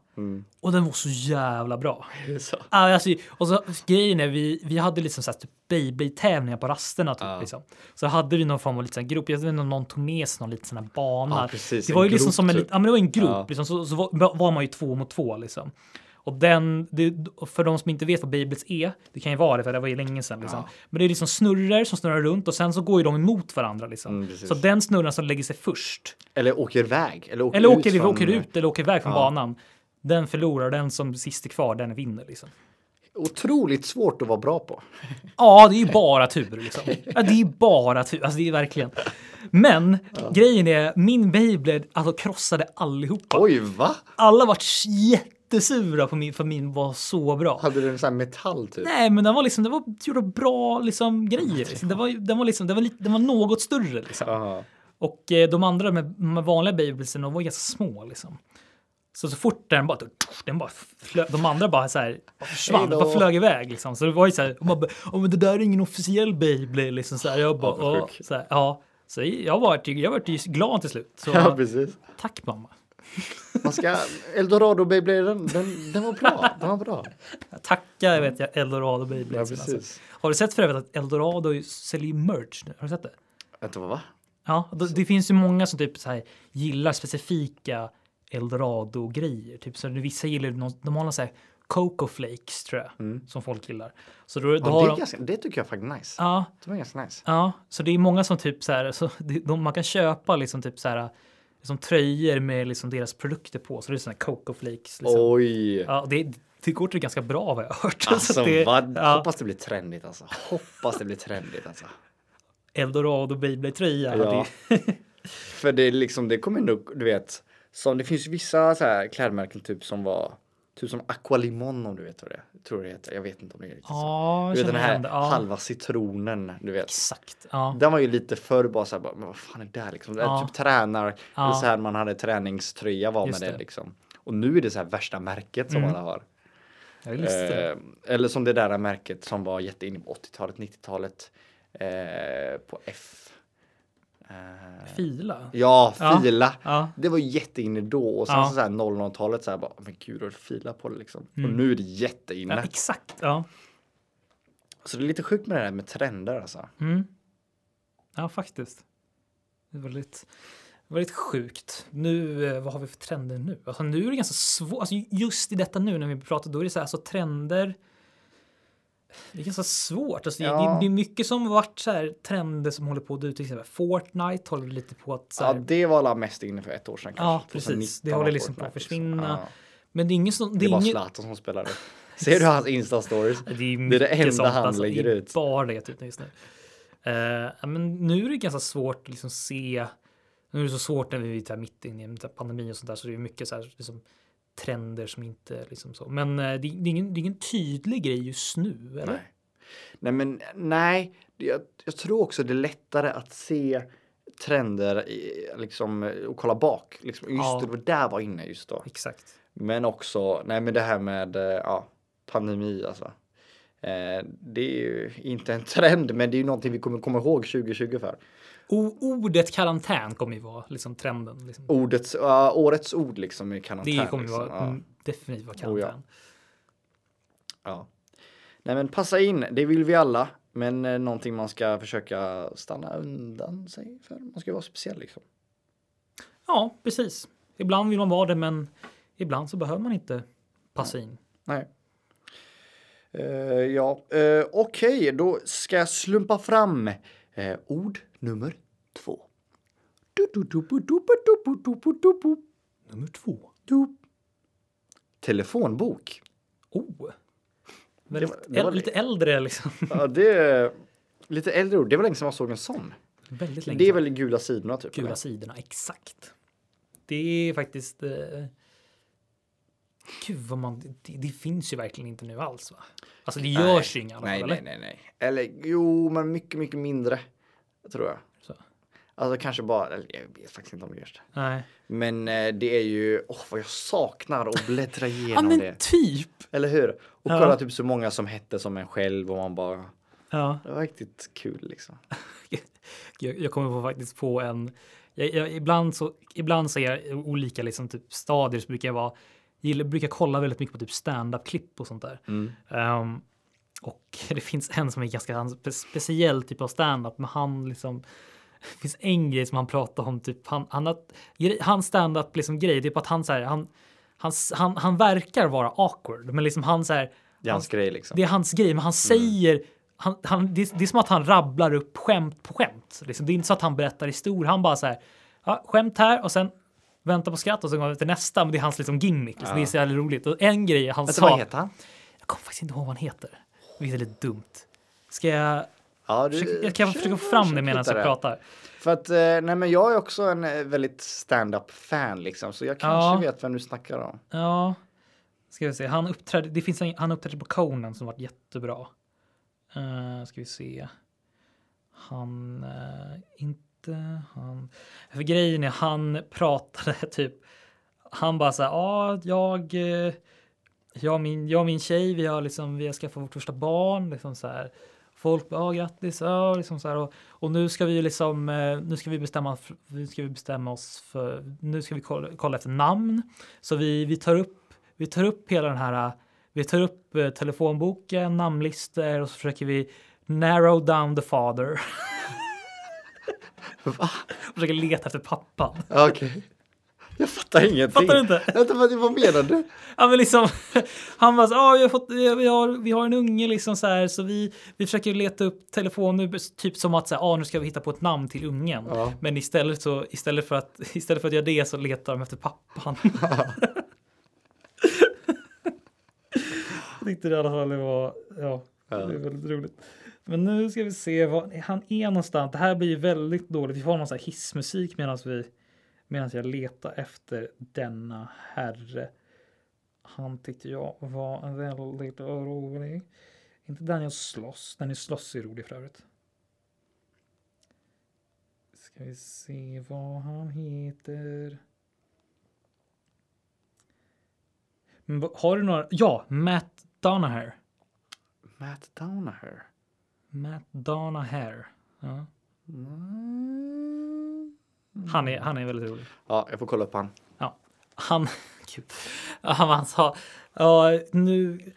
[SPEAKER 1] och den var så jävla bra.
[SPEAKER 2] Är det så?
[SPEAKER 1] Ja, Alltså, och så grejen är, vi, vi hade liksom så här typ Beyblade-tävlingar på rasterna. Typ, liksom. Så hade vi någon form av liten grop. Jag vet inte om någon tog med sig någon liten sån här bana.
[SPEAKER 2] Ja, precis.
[SPEAKER 1] det var
[SPEAKER 2] En
[SPEAKER 1] ju liksom
[SPEAKER 2] grop,
[SPEAKER 1] som en,
[SPEAKER 2] typ.
[SPEAKER 1] lit- ja, men det var en grop.
[SPEAKER 2] Ja.
[SPEAKER 1] Liksom, så, så var, var man ju två mot två liksom. Och den, det, för de som inte vet vad Beyblades är, det kan ju vara det för det var ju länge sedan. Liksom. Men det är liksom snurror som snurrar runt och sen så går ju de emot varandra. Liksom.
[SPEAKER 2] Mm, precis.
[SPEAKER 1] så den snurran som lägger sig först
[SPEAKER 2] Eller åker iväg. Eller åker,
[SPEAKER 1] eller
[SPEAKER 2] ut,
[SPEAKER 1] åker,
[SPEAKER 2] från-
[SPEAKER 1] åker ut eller åker iväg från banan. Den förlorar, den som sist är kvar, den vinner. Liksom.
[SPEAKER 2] Otroligt svårt att vara bra på.
[SPEAKER 1] Ja, det är ju bara tur liksom. Ja, det är bara tur. Alltså det är verkligen. Men grejen är, min Beyblade alltså, krossade allihopa.
[SPEAKER 2] Oj, va?
[SPEAKER 1] Alla var jättesura på min, för min var så bra.
[SPEAKER 2] Hade du en sån här metall typ?
[SPEAKER 1] Nej, men den var liksom, den var gjord av bra liksom, grejer. Liksom. Den, var, den, var liksom, den, var lite, den var något större liksom.
[SPEAKER 2] Jaha.
[SPEAKER 1] Och eh, de andra med, med vanliga Beybladesen, de var ganska små liksom. Så, så fort den bara, den bara flö, de andra bara så här bara försvann,
[SPEAKER 2] Hejdå.
[SPEAKER 1] bara flög iväg liksom. Så det var ju så här, och man bara, "Åh, men det där är ingen officiell Beyblade liksom. Så här, jag bara,
[SPEAKER 2] vad
[SPEAKER 1] "Åh",
[SPEAKER 2] sjuk.
[SPEAKER 1] så här, ja. Så jag var, jag var glad till slut. Så
[SPEAKER 2] Ja, precis.
[SPEAKER 1] tack mamma.
[SPEAKER 2] Man ska, Eldorado Beyblade, den, den, den var bra. Den var bra.
[SPEAKER 1] Tacka vet jag Eldorado Beyblade.
[SPEAKER 2] Ja,
[SPEAKER 1] alltså.
[SPEAKER 2] precis.
[SPEAKER 1] Har du sett för övrigt att Eldorado säljer ju merch nu? Har du sett det?
[SPEAKER 2] Vänta, vad va?
[SPEAKER 1] Ja, då, det finns ju många som typ så här gillar specifika Eldorado-grejer. Typ så vissa gillar någon, de har någon så här Coco Flakes tror jag som folk gillar. Så då, då
[SPEAKER 2] Mm. Ja,
[SPEAKER 1] har
[SPEAKER 2] det, är
[SPEAKER 1] de,
[SPEAKER 2] ganska, det tycker jag faktiskt är nice.
[SPEAKER 1] ja,
[SPEAKER 2] De är ganska nice.
[SPEAKER 1] ja, så det är många som typ så här, så det- de, man kan köpa liksom typ så här liksom tröjor med liksom deras produkter på. Så det är såna här Coco Flakes. Liksom.
[SPEAKER 2] Oj!
[SPEAKER 1] Ja, [LAUGHS] det, det går till ganska bra vad jag har hört. [LAUGHS] Så
[SPEAKER 2] Alltså,
[SPEAKER 1] att det,
[SPEAKER 2] vad,
[SPEAKER 1] ja,
[SPEAKER 2] hoppas det blir trendigt alltså. Hoppas det blir trendigt alltså.
[SPEAKER 1] Eldorado Beyblade-tröja.
[SPEAKER 2] Ja.
[SPEAKER 1] Det- [LAUGHS]
[SPEAKER 2] För det är liksom, det kommer ändå, du vet, som det finns vissa så här klädmärken typ som var, typ som Aqualimon om du vet vad det är. tror det heter. Jag vet inte om det är riktigt så.
[SPEAKER 1] Ja,
[SPEAKER 2] Du vet den
[SPEAKER 1] känner
[SPEAKER 2] här
[SPEAKER 1] igen det. Ja,
[SPEAKER 2] halva citronen, du vet.
[SPEAKER 1] exakt. Ja.
[SPEAKER 2] Den var ju lite förr bara så här, bara, men vad fan är det här liksom? Det är
[SPEAKER 1] Ja.
[SPEAKER 2] Typ tränar,
[SPEAKER 1] Ja.
[SPEAKER 2] eller så här man hade träningströja var
[SPEAKER 1] Just
[SPEAKER 2] med det.
[SPEAKER 1] det.
[SPEAKER 2] liksom. Och nu är det så här värsta märket som alla har.
[SPEAKER 1] Jag visste det.
[SPEAKER 2] Eh, eller som det där märket som var jätteinne på 80-talet, 90-talet. Eh, på F. Eh,
[SPEAKER 1] Fila?
[SPEAKER 2] ja,
[SPEAKER 1] Ja.
[SPEAKER 2] fila.
[SPEAKER 1] Ja.
[SPEAKER 2] Det var ju jätteinne då och sen
[SPEAKER 1] Ja.
[SPEAKER 2] så här 00-talet så här bara, men gud, har du filat på det liksom? Och nu är det jätteinne.
[SPEAKER 1] Mm. ja, exakt. Ja.
[SPEAKER 2] Så det är lite sjukt med det här med trender alltså.
[SPEAKER 1] Mm. ja, faktiskt. Det är väldigt, väldigt sjukt. Nu, eh, vad har vi för trender nu? Alltså, nu är det ganska svårt. Alltså, just i detta nu när vi pratar, då är det så här, alltså trender. Det är ganska svårt. Alltså, det-
[SPEAKER 2] Ja.
[SPEAKER 1] det, det är mycket som har varit så här trender som håller på att dö ut. Till exempel Fortnite håller lite på att så
[SPEAKER 2] Ja,
[SPEAKER 1] här,
[SPEAKER 2] det var alla mest inne för ett år sedan kanske.
[SPEAKER 1] Ja, precis.
[SPEAKER 2] 2019
[SPEAKER 1] Det håller
[SPEAKER 2] var
[SPEAKER 1] liksom på att
[SPEAKER 2] Fortnite,
[SPEAKER 1] försvinna.
[SPEAKER 2] Ja.
[SPEAKER 1] Men det är ingen som...
[SPEAKER 2] Det
[SPEAKER 1] är
[SPEAKER 2] är bara
[SPEAKER 1] ingen-
[SPEAKER 2] Zlatan som spelar det. Ser du
[SPEAKER 1] [LAUGHS]
[SPEAKER 2] hans Insta-stories?
[SPEAKER 1] Det är,
[SPEAKER 2] Det är det
[SPEAKER 1] mycket
[SPEAKER 2] enda
[SPEAKER 1] sånt,
[SPEAKER 2] han
[SPEAKER 1] alltså.
[SPEAKER 2] lägger
[SPEAKER 1] Det är
[SPEAKER 2] ut.
[SPEAKER 1] Bara det typ just nu. Eh, ja, men nu är det ganska svårt att liksom se. Nu är det så svårt när vi är där mitt inne i en pandemi och sånt där så det är mycket så här liksom trender som inte liksom så. Men eh, det, det, är ingen, det är ingen tydlig grej just nu. Eller?
[SPEAKER 2] Nej. Nej, men nej. Det- Jag, jag tror också det är lättare att se trender i, liksom, och kolla bak. Liksom, just
[SPEAKER 1] Ja.
[SPEAKER 2] det, det var där var inne just då.
[SPEAKER 1] Exakt.
[SPEAKER 2] Men också, nej men det här med eh, ja, pandemi alltså. Eh, det är ju inte en trend, men det är ju någonting vi kommer komma ihåg 2020 för.
[SPEAKER 1] O, ordet karantän kommer ju vara liksom trenden. Liksom.
[SPEAKER 2] Ordets, ja, årets ord liksom i karantän.
[SPEAKER 1] det kommer ju
[SPEAKER 2] liksom.
[SPEAKER 1] vara
[SPEAKER 2] ja.
[SPEAKER 1] mm, definitivt vara
[SPEAKER 2] Oh, ja.
[SPEAKER 1] karantän.
[SPEAKER 2] Ja. Nej men passa in, det vill vi alla. Men eh, någonting man ska försöka stanna undan sig för. Man ska vara speciell liksom.
[SPEAKER 1] ja, precis. Ibland vill man vara det, men ibland så behöver man inte passa in.
[SPEAKER 2] Nej. Eh, ja, eh, okej, då ska jag slumpa fram eh, ord nummer två.
[SPEAKER 1] Nummer två.
[SPEAKER 2] Telefonbok.
[SPEAKER 1] Oh. Väldigt,
[SPEAKER 2] var- det var
[SPEAKER 1] äl- lite äldre
[SPEAKER 2] [LAUGHS]
[SPEAKER 1] liksom.
[SPEAKER 2] Ja, det är lite äldre ord. Det var länge sedan man såg en sån.
[SPEAKER 1] Väldigt länge
[SPEAKER 2] Det är
[SPEAKER 1] sedan.
[SPEAKER 2] väl gula sidorna typ?
[SPEAKER 1] Gula sidorna, exakt. Det är faktiskt... Eh... Gud vad man... Det, det finns ju verkligen inte nu alls va? Alltså det görs ju inga i alla
[SPEAKER 2] nej,
[SPEAKER 1] fall,
[SPEAKER 2] nej,
[SPEAKER 1] eller?
[SPEAKER 2] nej, nej. Eller jo, men mycket, mycket mindre. Tror jag.
[SPEAKER 1] Så.
[SPEAKER 2] Alltså kanske bara, eller jag vet faktiskt inte om det görs det.
[SPEAKER 1] nej.
[SPEAKER 2] Men eh, det är ju, åh vad jag saknar att bläddra
[SPEAKER 1] Ja
[SPEAKER 2] igenom
[SPEAKER 1] men
[SPEAKER 2] det.
[SPEAKER 1] typ!
[SPEAKER 2] Eller hur? Och
[SPEAKER 1] Ja.
[SPEAKER 2] kolla typ så många som hette som en själv och man bara,
[SPEAKER 1] Ja.
[SPEAKER 2] det var riktigt kul liksom.
[SPEAKER 1] [LAUGHS] Jag, jag kommer på faktiskt på en... Jag, jag, ibland, så, ibland så är jag i olika liksom, typ, stadier så brukar jag vara... Gillar, brukar kolla väldigt mycket på typ stand-up-klipp och sånt där. Ehm, och [LAUGHS] det finns en som är ganska han- spe- speciell typ av stand-up, men han liksom... [LAUGHS] Det finns en grej som han pratar om, typ han, han har, grej- hans stand-up liksom grej, det är på att han så här, han, han, han, han verkar vara awkward, men liksom han så här,
[SPEAKER 2] Det är hans grej liksom.
[SPEAKER 1] det är hans grej, men han säger... Han, han, det, är- det är som att han rabblar upp skämt på skämt. Liksom. Det är inte så att han berättar historier. Han bara så här, ja, skämt här och sen vänta på skratt och sen går vi till nästa. Men det är hans liksom gimmick. Liksom. Det är så jävla roligt. Och en grej han
[SPEAKER 2] Vänta,
[SPEAKER 1] sa...
[SPEAKER 2] vad heter han?
[SPEAKER 1] Jag kommer faktiskt inte ihåg vad han heter. Vilket är lite dumt. Ska jag...
[SPEAKER 2] Ja, du,
[SPEAKER 1] Försöka, jag kan
[SPEAKER 2] kör-
[SPEAKER 1] försöka få fram
[SPEAKER 2] kör
[SPEAKER 1] det medan
[SPEAKER 2] lite
[SPEAKER 1] jag
[SPEAKER 2] där.
[SPEAKER 1] pratar.
[SPEAKER 2] För att, eh, nej men jag är också en eh, väldigt stand-up-fan liksom, så jag kanske
[SPEAKER 1] Ja.
[SPEAKER 2] vet vem du snackar om.
[SPEAKER 1] Ja, ska vi se. Han uppträdde, det finns en, han uppträdde på Conan som varit jättebra. Uh, ska vi se. Han, eh, inte han. För grejen är, han pratade [LAUGHS] typ. Han bara så här, ja, jag, eh, jag, och min, jag och min tjej, vi har liksom, vi har skaffat vårt första barn, liksom så här. folk bara, ah, grattis, ah, liksom så här. Och, och nu ska vi liksom, eh, nu ska vi bestämma, nu ska vi bestämma oss för, nu ska vi kolla, kolla efter namn. Så vi, vi tar upp, vi tar upp hela den här, eh, vi tar upp eh, telefonboken, namnlistor och så försöker vi narrow down the father.
[SPEAKER 2] Va?
[SPEAKER 1] [LAUGHS] försöker leta efter pappan.
[SPEAKER 2] Okej. Jag fattar ingenting.
[SPEAKER 1] Fattar du inte?
[SPEAKER 2] [LAUGHS] Vänta, vad, vad menar du?
[SPEAKER 1] Ja, men liksom, [LAUGHS] han bara så, ah, vi, har fått, vi, har, vi har en unge liksom så här så vi, vi försöker leta upp telefon nu, typ som att så här, ah, nu ska vi hitta på ett namn till ungen.
[SPEAKER 2] Ja.
[SPEAKER 1] Men istället, så, istället, för att, [LAUGHS] istället för att göra det så letar de efter pappan. [LAUGHS] Jag tyckte det i alla fall det var, ja, det är väldigt roligt. Men nu ska vi se var han är någonstans. Det här blir ju väldigt dåligt. Vi får ha någon sån här hissmusik medan vi medan jag letar efter denna herre. Han tyckte jag var väldigt rolig. Inte Daniel Sloss. Daniel Sloss är rolig för övrigt. Ska vi se vad han heter. Men vad- har du några? Ja, Matt Donaher.
[SPEAKER 2] Matt Downer.
[SPEAKER 1] Matt Donaher. Ja. Han, är, han är väldigt rolig.
[SPEAKER 2] Ja, jag får kolla upp han.
[SPEAKER 1] Ja, han, gud, han, han sa, ja, nu,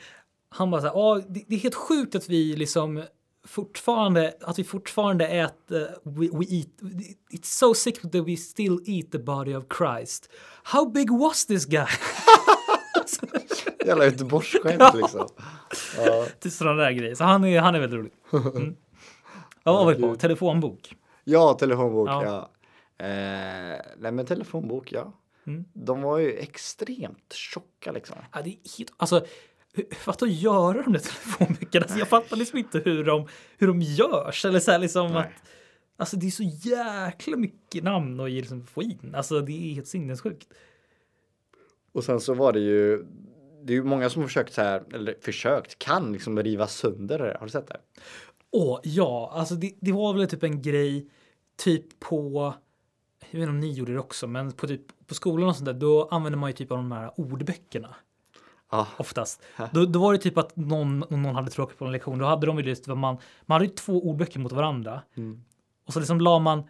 [SPEAKER 1] han bara så här, ja, det, det är helt sjukt att vi liksom fortfarande, att vi fortfarande äter, we, we eat, it's so sick that we still eat the body of Christ. How big was this guy? [LAUGHS]
[SPEAKER 2] Jävla göteborgsskämt liksom. Ja.
[SPEAKER 1] Till sådana där grejer. Så han är, han är väldigt rolig. Mm. Ja, vad var vi på? Telefonbok.
[SPEAKER 2] Ja, telefonbok. Ja.
[SPEAKER 1] Ja.
[SPEAKER 2] Eh, nej, men telefonbok, ja. De var ju extremt tjocka liksom.
[SPEAKER 1] Ja, det är helt, alltså, hur- vad att göra de där [LAUGHS] telefonböckerna? Alltså, jag fattar liksom inte hur de, hur de görs. Eller så här, liksom
[SPEAKER 2] Nej.
[SPEAKER 1] att, alltså, det är så jäkla mycket namn och liksom, få in. Alltså, det är helt sinnessjukt.
[SPEAKER 2] Och sen så var det ju, det är ju många som har försökt så här, eller försökt, kan liksom riva sönder det. Har du sett det?
[SPEAKER 1] Åh, ja, alltså det, det var väl typ en grej typ på, jag vet inte om ni gjorde det också, men på, typ, på skolan och sånt där, då använde man ju typ av de här ordböckerna.
[SPEAKER 2] Ja.
[SPEAKER 1] oftast. Då, då var det typ att någon, om någon hade tråkigt på en lektion. Då hade de ju just vad man, man hade ju två ordböcker mot varandra. Och så liksom la man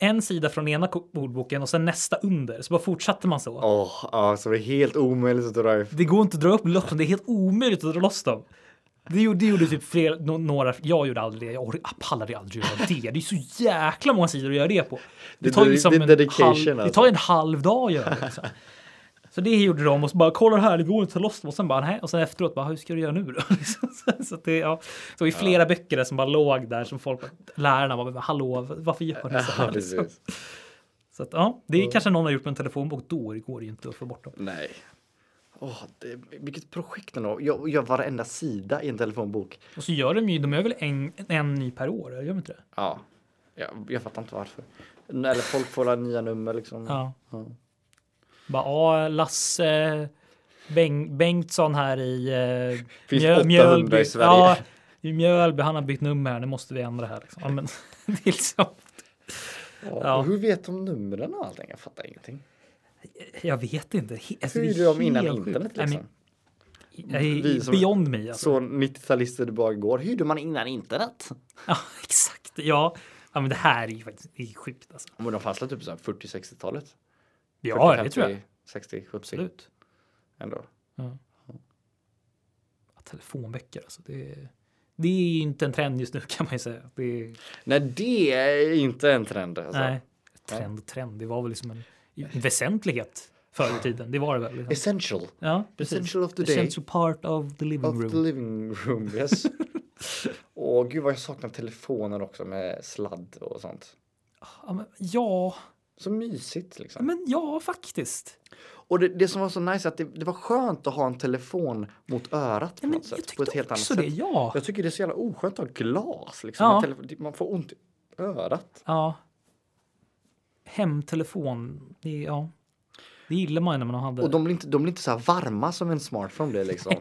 [SPEAKER 1] en sida från ena ko- ordboken och sen nästa under. Så bara fortsatte man så.
[SPEAKER 2] Åh, ja, så det är helt omöjligt att dra
[SPEAKER 1] Det går inte att dra upp lossen. Det är helt omöjligt att dra loss dem. Det gjorde, det gjorde typ fler, no, några, jag gjorde aldrig det, jag or- jag pallade aldrig göra det. Det är så jäkla många sidor att göra det på. Det
[SPEAKER 2] Det-
[SPEAKER 1] tar ju
[SPEAKER 2] det-
[SPEAKER 1] liksom
[SPEAKER 2] det är
[SPEAKER 1] en,
[SPEAKER 2] dedication,
[SPEAKER 1] halv, det
[SPEAKER 2] alltså.
[SPEAKER 1] tar ju en halv dag att göra det. Liksom. Så det gjorde de och så bara kolla det här, det går inte att ta loss dem. Och sen bara nej, och sen efteråt bara hur ska du göra nu då? [LAUGHS] Liksom, så- så att det, ja. Så i flera böcker där som bara låg där som folk, lärarna bara men hallå, varför gör ni så här?
[SPEAKER 2] [LAUGHS] [LAUGHS] Ja,
[SPEAKER 1] Liksom.
[SPEAKER 2] precis.
[SPEAKER 1] Så att, ja, det är kanske någon har gjort med en telefonbok, då går det ju inte att få bort dem.
[SPEAKER 2] Nej. Åh, det, vilket projekt ändå. Jag gör varenda sida i en telefonbok.
[SPEAKER 1] Och så gör de ju, de gör väl en, en ny per år, gör de inte det?
[SPEAKER 2] Ja. Jag, jag fattar inte varför. Eller folk får alla nya nummer liksom.
[SPEAKER 1] Ja. Bara, ja, Lasse Beng, Bengtsson här i eh,
[SPEAKER 2] [LAUGHS] Finns 800 i Sverige.
[SPEAKER 1] Ja, i Mjölby, han har bytt nummer här, nu måste vi ändra här. Liksom. Ja, men, [LAUGHS] det är liksom,
[SPEAKER 2] Ja. och Hur vet de numren och allting? Jag fattar ingenting.
[SPEAKER 1] jag vet inte. He- Alltså,
[SPEAKER 2] Hur
[SPEAKER 1] det
[SPEAKER 2] gjorde de innan
[SPEAKER 1] helt sjukt.
[SPEAKER 2] internet
[SPEAKER 1] Nej, men,
[SPEAKER 2] liksom?
[SPEAKER 1] jag-
[SPEAKER 2] Vi som-
[SPEAKER 1] Beyond me alltså.
[SPEAKER 2] Så 90-talister det bara går. Hur gjorde man innan internet?
[SPEAKER 1] Ja, [LAUGHS] exakt. Ja. ja, men det här är ju faktiskt det är sjukt alltså.
[SPEAKER 2] Men de fanns väl typ så här 40-60-talet?
[SPEAKER 1] Ja, det tror jag.
[SPEAKER 2] 60, 70
[SPEAKER 1] Absolut.
[SPEAKER 2] ändå.
[SPEAKER 1] Telefonböcker alltså. Det, är- det är ju inte en trend just nu [LAUGHS] kan man ju säga. Det är,
[SPEAKER 2] Nej, det är inte en trend. Alltså.
[SPEAKER 1] Nej, trend och trend. Det var väl liksom en en väsentlighet förr i tiden. Det var det väl. Liksom.
[SPEAKER 2] Essential.
[SPEAKER 1] Ja, precis.
[SPEAKER 2] essential of the day.
[SPEAKER 1] Essential part of the living
[SPEAKER 2] Of the
[SPEAKER 1] room.
[SPEAKER 2] living room,
[SPEAKER 1] [LAUGHS]
[SPEAKER 2] yes. Åh gud vad jag saknar telefoner också med sladd och sånt.
[SPEAKER 1] Ja, men, ja,
[SPEAKER 2] Så mysigt liksom.
[SPEAKER 1] men ja, faktiskt.
[SPEAKER 2] Och det, det som var så nice är att det, det var skönt att ha en telefon mot örat på
[SPEAKER 1] Nej, men
[SPEAKER 2] något
[SPEAKER 1] jag
[SPEAKER 2] sätt. På ett
[SPEAKER 1] tyckte
[SPEAKER 2] helt annat
[SPEAKER 1] också det.
[SPEAKER 2] sätt.
[SPEAKER 1] Ja.
[SPEAKER 2] Jag tycker det är så jävla oskönt att ha glas liksom.
[SPEAKER 1] Ja.
[SPEAKER 2] En telefon- det- Man får ont i örat.
[SPEAKER 1] ja. Hemtelefon. Det, ja. det gillar man ju när man hade.
[SPEAKER 2] Och de blir inte, de blir inte så här varma som en smartphone
[SPEAKER 1] [LAUGHS]
[SPEAKER 2] blir liksom.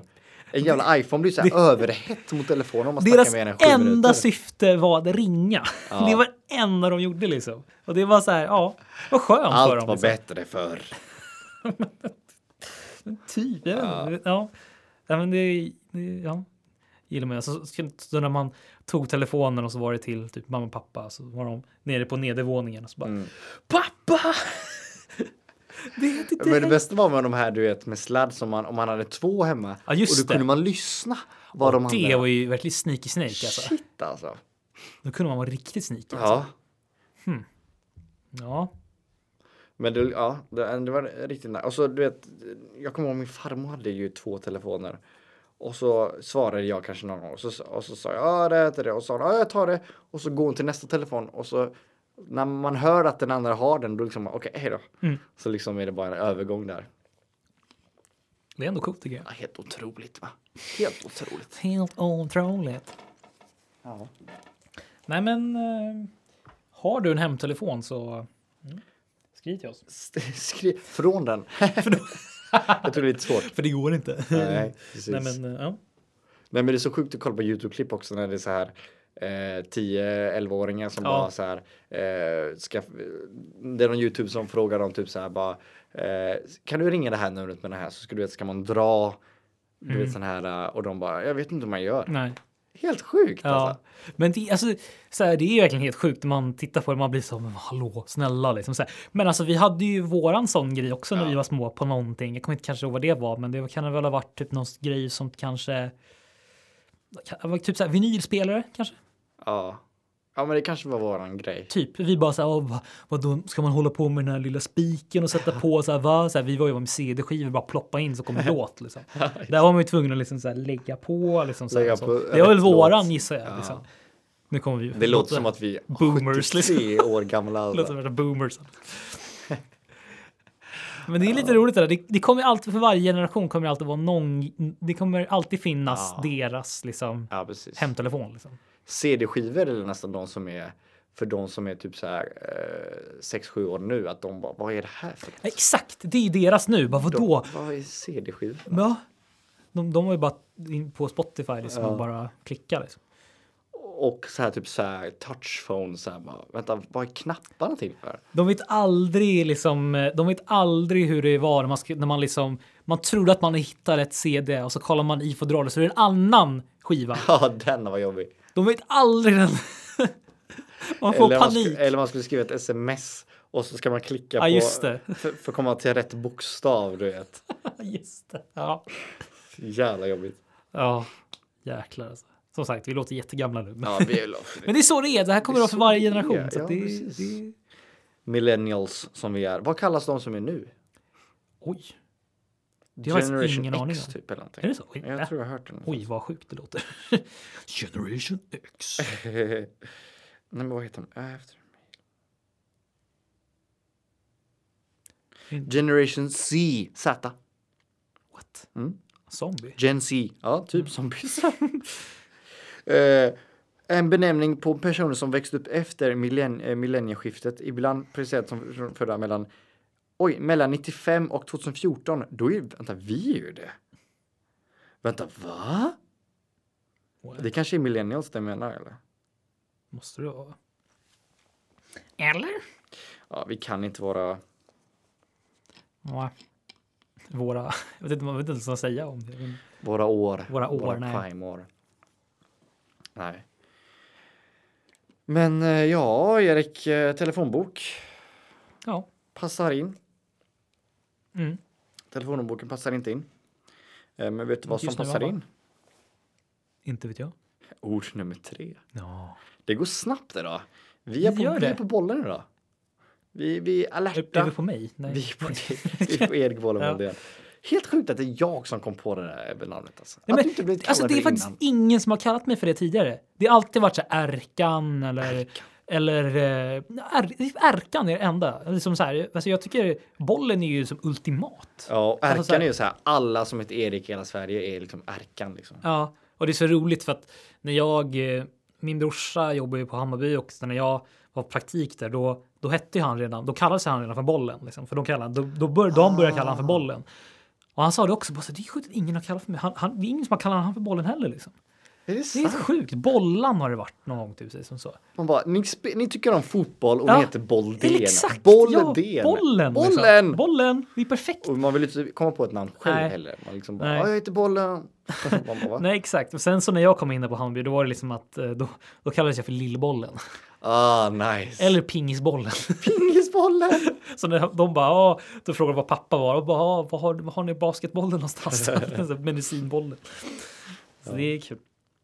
[SPEAKER 2] En jävla iPhone blir så här överhett mot telefonen om man
[SPEAKER 1] Deras
[SPEAKER 2] snackar med den i sju
[SPEAKER 1] enda
[SPEAKER 2] minuter.
[SPEAKER 1] syfte var att ringa.
[SPEAKER 2] Ja.
[SPEAKER 1] [LAUGHS] Det var det enda de gjorde liksom. Och det var så här, ja, vad skönt för dem.
[SPEAKER 2] Allt var
[SPEAKER 1] liksom.
[SPEAKER 2] bättre förr.
[SPEAKER 1] Typ, jag vet inte. Ja. ja. men det, det, ja. gillar man. Så, så när man tog telefonen och så var det till typ mamma och pappa så var de nere på nedervåningen och så bara
[SPEAKER 2] Mm.
[SPEAKER 1] Pappa! [LAUGHS] det är till
[SPEAKER 2] Men det
[SPEAKER 1] dig!
[SPEAKER 2] bästa var med de här du vet med sladd som man om man hade två hemma.
[SPEAKER 1] Ja, just
[SPEAKER 2] och då
[SPEAKER 1] det.
[SPEAKER 2] kunde man lyssna vad de
[SPEAKER 1] Det
[SPEAKER 2] andra.
[SPEAKER 1] var ju verkligen sneaky snake alltså.
[SPEAKER 2] Shit alltså.
[SPEAKER 1] Då kunde man vara riktigt sneaky. Alltså.
[SPEAKER 2] Ja,
[SPEAKER 1] Ja.
[SPEAKER 2] men det, ja, det, det var riktigt nice. Och så du vet, jag kommer ihåg min farmor hade ju två telefoner. Och så svarade jag kanske någon gång och så, och så sa jag ja det heter det och så sa hon ja jag tar det och så går hon till nästa telefon och så när man hör att den andra har den då liksom okej hej då.
[SPEAKER 1] Mm.
[SPEAKER 2] Så liksom är det bara en övergång där.
[SPEAKER 1] Det är ändå coolt tycker jag.
[SPEAKER 2] Ja, helt otroligt va? Helt otroligt.
[SPEAKER 1] Helt otroligt.
[SPEAKER 2] Ja.
[SPEAKER 1] Nej men, eh, har du en hemtelefon så mm. skriv till oss.
[SPEAKER 2] St- Skri-
[SPEAKER 1] [LAUGHS]
[SPEAKER 2] från den. jag tror det är lite svårt.
[SPEAKER 1] För det går inte.
[SPEAKER 2] Nej, precis.
[SPEAKER 1] Nej men, eh, ja.
[SPEAKER 2] Nej men det är så sjukt att kolla på YouTube-klipp också när det är så här eh, 10-11-åringar som
[SPEAKER 1] Ja.
[SPEAKER 2] bara så här eh, ska, Det är någon YouTube som frågar dem typ så här bara eh, Kan du ringa det här numret med det här så ska du veta ska man dra Du vet sån här eh, och de bara jag vet inte hur man gör.
[SPEAKER 1] Mm. Nej.
[SPEAKER 2] Helt sjukt
[SPEAKER 1] Ja.
[SPEAKER 2] alltså.
[SPEAKER 1] Men det, alltså, så här, det är ju verkligen helt sjukt när man tittar på det. Man blir så men hallå, snälla liksom. Så här. Men alltså vi hade ju våran sån grej också när
[SPEAKER 2] Ja.
[SPEAKER 1] vi var små på någonting. Jag kommer inte kanske ihåg vad det var, men det kan väl ha varit typ någon grej som kanske kan- Typ så här, vinylspelare kanske?
[SPEAKER 2] Ja. ja men det kanske var våran grej.
[SPEAKER 1] Typ. Vi bara så här, "Åh, vad, vadå, ska man hålla på med den här lilla spiken och sätta på så här, va? Så här, vi var ju med CD-skivor, bara ploppa in så
[SPEAKER 2] [LAUGHS]
[SPEAKER 1] kom en låt liksom. Där var man ju tvungen att liksom så här, lägga på liksom. Så här,
[SPEAKER 2] Lägga
[SPEAKER 1] så.
[SPEAKER 2] på
[SPEAKER 1] det var väl
[SPEAKER 2] rätt
[SPEAKER 1] våran
[SPEAKER 2] låt.
[SPEAKER 1] gissar jag. Liksom. Nu kommer vi ju.
[SPEAKER 2] Det låter som att vi är
[SPEAKER 1] boomers,
[SPEAKER 2] 73 år gamla.
[SPEAKER 1] Det
[SPEAKER 2] Alltså.
[SPEAKER 1] låter som värsta
[SPEAKER 2] [LAUGHS]
[SPEAKER 1] boomers. Men det är lite roligt det där. Det, det kommer alltid, för varje generation kommer det alltid vara någon, det kommer alltid finnas
[SPEAKER 2] Ja.
[SPEAKER 1] deras liksom
[SPEAKER 2] Ja precis.
[SPEAKER 1] hemtelefon. Liksom.
[SPEAKER 2] CD-skivor eller nästan de som är för de som är typ så här 6-7 år nu att de bara vad är det här för något?
[SPEAKER 1] Exakt, det är ju deras nu. Bara
[SPEAKER 2] De-
[SPEAKER 1] vadå?
[SPEAKER 2] Vad är CD-skivor?
[SPEAKER 1] Ja. De, de var ju bara in på Spotify liksom
[SPEAKER 2] Ja.
[SPEAKER 1] och bara klicka. Liksom.
[SPEAKER 2] Och så här typ så här touchphone så här bara vänta vad är knapparna till för? [LAUGHS]
[SPEAKER 1] De vet aldrig liksom, eh, de vet aldrig hur det var när man, sk- när man liksom, man trodde att man hittar ett CD och så kollar man i fodralet så är det en annan skiva.
[SPEAKER 2] Ja den var jobbig.
[SPEAKER 1] De vet aldrig den. [LAUGHS] Man får
[SPEAKER 2] eller, eh. man
[SPEAKER 1] panik.
[SPEAKER 2] sk- eller man skulle skriva ett sms och så ska man klicka
[SPEAKER 1] Ja,
[SPEAKER 2] på
[SPEAKER 1] just det.
[SPEAKER 2] [LAUGHS] För, för att komma till rätt bokstav du vet.
[SPEAKER 1] Just det. Ja.
[SPEAKER 2] Jävla jobbigt.
[SPEAKER 1] ja, jäklar alltså. Som sagt, vi låter jättegamla nu. Men,
[SPEAKER 2] Ja, vi är
[SPEAKER 1] men det är så det är. Det här kommer
[SPEAKER 2] Det är
[SPEAKER 1] vara för
[SPEAKER 2] så
[SPEAKER 1] varje
[SPEAKER 2] det är.
[SPEAKER 1] generation. så
[SPEAKER 2] Ja,
[SPEAKER 1] att det,
[SPEAKER 2] precis.
[SPEAKER 1] det...
[SPEAKER 2] Millennials som vi är. Vad kallas de som är nu?
[SPEAKER 1] Oj. Det har jag faktiskt ingen aning
[SPEAKER 2] X
[SPEAKER 1] om.
[SPEAKER 2] typ eller någonting.
[SPEAKER 1] Är det så? Oj, va?
[SPEAKER 2] Jag tror jag har hört den.
[SPEAKER 1] Oj, vad sjukt det låter. [LAUGHS] Generation X.
[SPEAKER 2] [LAUGHS] Nej men vad heter de Äh, efter?
[SPEAKER 1] Mm.
[SPEAKER 2] Generation C, Z.
[SPEAKER 1] What?
[SPEAKER 2] Mm.
[SPEAKER 1] Zombie?
[SPEAKER 2] Gen C. Ja, typ som zombies. Eh, en benämning på personer som växt upp efter millenn- eh, millennieskiftet, ibland presenterat som födda mellan Oj, mellan 95 och 2014, då är vänta, vi är ju det. Vänta, va?
[SPEAKER 1] What?
[SPEAKER 2] Det kanske är millennials det menar eller?
[SPEAKER 1] Måste det vara? Eller?
[SPEAKER 2] Ja, vi kan inte vara
[SPEAKER 1] Nej. Våra, jag vet inte, man vet inte ens vad man ska säga om det. men-
[SPEAKER 2] Våra år.
[SPEAKER 1] Våra år, nej.
[SPEAKER 2] primeår. Nej. Men eh, ja, Erik, eh, telefonbok
[SPEAKER 1] Ja.
[SPEAKER 2] passar in.
[SPEAKER 1] Mm.
[SPEAKER 2] Telefonboken passar inte in. Eh, Men vet du vad som
[SPEAKER 1] Just nu,
[SPEAKER 2] passar
[SPEAKER 1] vad?
[SPEAKER 2] in?
[SPEAKER 1] Inte vet jag.
[SPEAKER 2] Ord nummer tre.
[SPEAKER 1] Ja.
[SPEAKER 2] Det går snabbt idag. Vi är,
[SPEAKER 1] Vi
[SPEAKER 2] på,
[SPEAKER 1] gör
[SPEAKER 2] vi är
[SPEAKER 1] det.
[SPEAKER 2] på bollen idag. Vi, vi
[SPEAKER 1] Är,
[SPEAKER 2] är
[SPEAKER 1] är
[SPEAKER 2] alerta.
[SPEAKER 1] vi på mig? Nej.
[SPEAKER 2] Vi är på, vi är på Erik Bollen.
[SPEAKER 1] [LAUGHS] Ja.
[SPEAKER 2] Helt sjukt att det är jag som kom på det där namnet. Alltså.
[SPEAKER 1] Nej,
[SPEAKER 2] att
[SPEAKER 1] men,
[SPEAKER 2] du inte blev kallad
[SPEAKER 1] alltså, det är
[SPEAKER 2] innan.
[SPEAKER 1] faktiskt ingen som har kallat mig för det tidigare. Det har alltid varit så här Erkan eller... Eller... eh, är, ärkan är det enda. Liksom så här, alltså, jag tycker bollen är ju som ultimat.
[SPEAKER 2] Ja, och
[SPEAKER 1] Alltså,
[SPEAKER 2] Erkan
[SPEAKER 1] så här-
[SPEAKER 2] är ju så här, alla som heter Erik i hela Sverige är liksom Erkan liksom.
[SPEAKER 1] Ja, och det är så roligt för att när jag, eh, min brorsa jobbar ju på Hammarby också, när jag var på praktik där, då, då hette ju han redan, då kallades han redan för bollen. Liksom, för de, kallade, då, då bör, de började kalla han
[SPEAKER 2] Ah.
[SPEAKER 1] för bollen. Och han sa det också, bara så, här, det är sjukt att ingen har kallat för mig. Han, han, det är ingen som har kallat han för bollen heller. Liksom.
[SPEAKER 2] Är det
[SPEAKER 1] Det är helt
[SPEAKER 2] sant?
[SPEAKER 1] sjukt. Bollan har det varit någon gång typ, som så.
[SPEAKER 2] Man bara, ni, spe- ni tycker om fotboll och
[SPEAKER 1] Ja,
[SPEAKER 2] ni heter Bolldén.
[SPEAKER 1] Eller Exakt!
[SPEAKER 2] Bolldén.
[SPEAKER 1] Ja, bollen!
[SPEAKER 2] Bollen!
[SPEAKER 1] Liksom. Bollen! Det är perfekt.
[SPEAKER 2] Och man vill inte komma på ett namn själv
[SPEAKER 1] Nej.
[SPEAKER 2] heller. Man liksom bara,
[SPEAKER 1] Nej.
[SPEAKER 2] "Ja, jag heter Bollen. [LAUGHS] Man bara, "Va?"
[SPEAKER 1] Nej exakt. Och sen så när jag kom in där på Hammarby då var det liksom att eh, då, då kallades jag för Lillbollen. [LAUGHS]
[SPEAKER 2] ah, nice.
[SPEAKER 1] Eller Pingisbollen. [LAUGHS]
[SPEAKER 2] Pingisbollen.
[SPEAKER 1] Så när de bara, "Ja", då frågade de vad pappa var och bara, "Ja, vad har, vad har ni basketbollen någonstans? [LAUGHS] Så här, Medicinbollen. Så det är kul.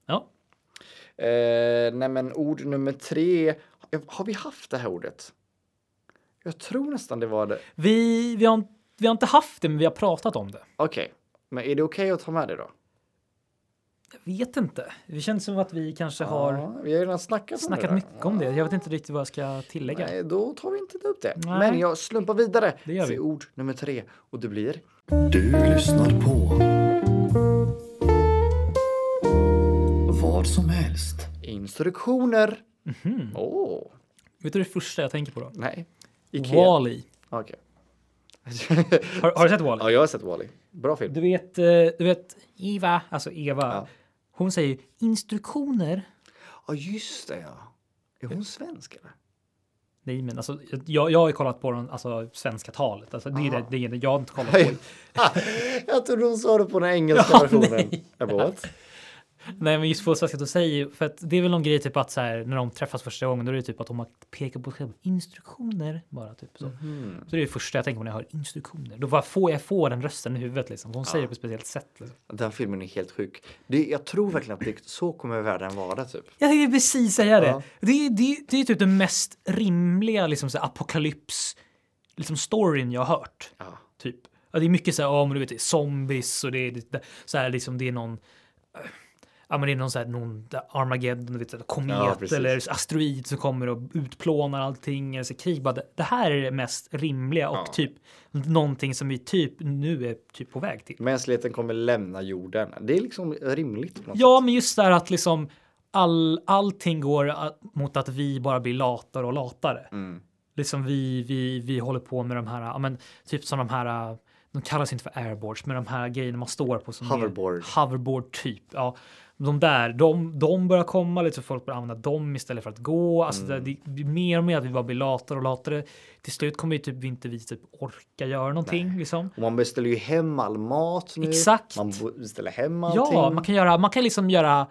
[SPEAKER 1] Ja,
[SPEAKER 2] [LAUGHS] eh, nej, men ord nummer tre. Har vi haft det här ordet? Jag tror nästan det var det.
[SPEAKER 1] vi, vi, har, inte- vi har inte haft det men vi har pratat om det.
[SPEAKER 2] Okej, men är det okej att ta med det då?
[SPEAKER 1] Jag vet inte. Det känns som att vi kanske har
[SPEAKER 2] Ja, vi har ju redan snackat,
[SPEAKER 1] snackat
[SPEAKER 2] om det där.
[SPEAKER 1] mycket om det. Jag vet inte riktigt vad jag ska tillägga.
[SPEAKER 2] Nej, då tar vi inte upp det.
[SPEAKER 1] Nej.
[SPEAKER 2] Men jag slumpar vidare
[SPEAKER 1] Det gör vi.
[SPEAKER 2] till ord nummer tre och det blir. Du lyssnar på. Vad som helst. Instruktioner.
[SPEAKER 1] Mhm.
[SPEAKER 2] Åh,
[SPEAKER 1] Vet du det första jag tänker på då?
[SPEAKER 2] nej. Ikea.
[SPEAKER 1] Wall-E.
[SPEAKER 2] Okej. [LAUGHS]
[SPEAKER 1] Har, har du sett Wall-E?
[SPEAKER 2] ja, jag har sett Wall-E. Bra film.
[SPEAKER 1] Du vet, eh, du vet Eva, alltså Eva,
[SPEAKER 2] Ja.
[SPEAKER 1] hon säger instruktioner.
[SPEAKER 2] Ja, just det ja. Är hon svensk eller? [LAUGHS]
[SPEAKER 1] Nej, men alltså, jag, jag har ju kollat på den, alltså, svenska talet. Alltså, det,
[SPEAKER 2] Ah.
[SPEAKER 1] är det, det är det jag har inte kollat på.
[SPEAKER 2] Nej. jag trodde hon sa det på den engelska
[SPEAKER 1] Ja,
[SPEAKER 2] versionen.
[SPEAKER 1] nej.
[SPEAKER 2] Jag bara, what?
[SPEAKER 1] Nej, men just på svenska då säger för att det är väl någon grej typ att så här, när de träffas första gången, då är det typ att de har pekat på sig själva, instruktioner bara typ så.
[SPEAKER 2] Mhm.
[SPEAKER 1] Så det är det första jag tänker på när jag hör instruktioner. Då bara får jag får den rösten i huvudet liksom. Hon säger det på ett speciellt sätt. Liksom.
[SPEAKER 2] Den filmen är helt sjuk. Det, jag tror verkligen att det, så kommer världen vara typ.
[SPEAKER 1] Jag tänkte precis säga det.
[SPEAKER 2] Ja.
[SPEAKER 1] Det, är- det, är- det är typ den mest rimliga liksom, så här, apokalyps liksom, storyn jag har hört.
[SPEAKER 2] Ja.
[SPEAKER 1] Typ. Ja, det är mycket så här, ja men du vet det är zombies och det är det, det, så här liksom det är någon eh, Ja men det är någon så här någon där Armageddon, du vet, så här,
[SPEAKER 2] Ja,
[SPEAKER 1] komet
[SPEAKER 2] precis.
[SPEAKER 1] eller asteroid som kommer och utplånar allting. Eller så krig. Bara, det- det här är det mest rimliga och
[SPEAKER 2] Ja.
[SPEAKER 1] typ någonting som vi typ nu är typ på väg till.
[SPEAKER 2] Mänskligheten kommer lämna jorden. Det är liksom rimligt. på något
[SPEAKER 1] Ja men just det här att liksom all, allting går att, mot att vi bara blir latare och latare.
[SPEAKER 2] Mm.
[SPEAKER 1] liksom vi, vi, vi håller på med de här, ja, men, typ som de här, de kallas inte för airboards, men de här grejerna man står på. Som är-
[SPEAKER 2] Hoverboard.
[SPEAKER 1] hoverboard typ. Ja. De där, de, de börjar komma, lite så folk börjar använda dem istället för att gå. Alltså
[SPEAKER 2] Mm.
[SPEAKER 1] det, det blir mer och mer att vi bara blir latare och latare. Till slut kommer ju typ inte vi typ orka göra någonting liksom.
[SPEAKER 2] Och man beställer ju hem all mat nu.
[SPEAKER 1] Exakt.
[SPEAKER 2] Man bo- beställer hem allting.
[SPEAKER 1] Ja, man kan göra, man kan liksom göra,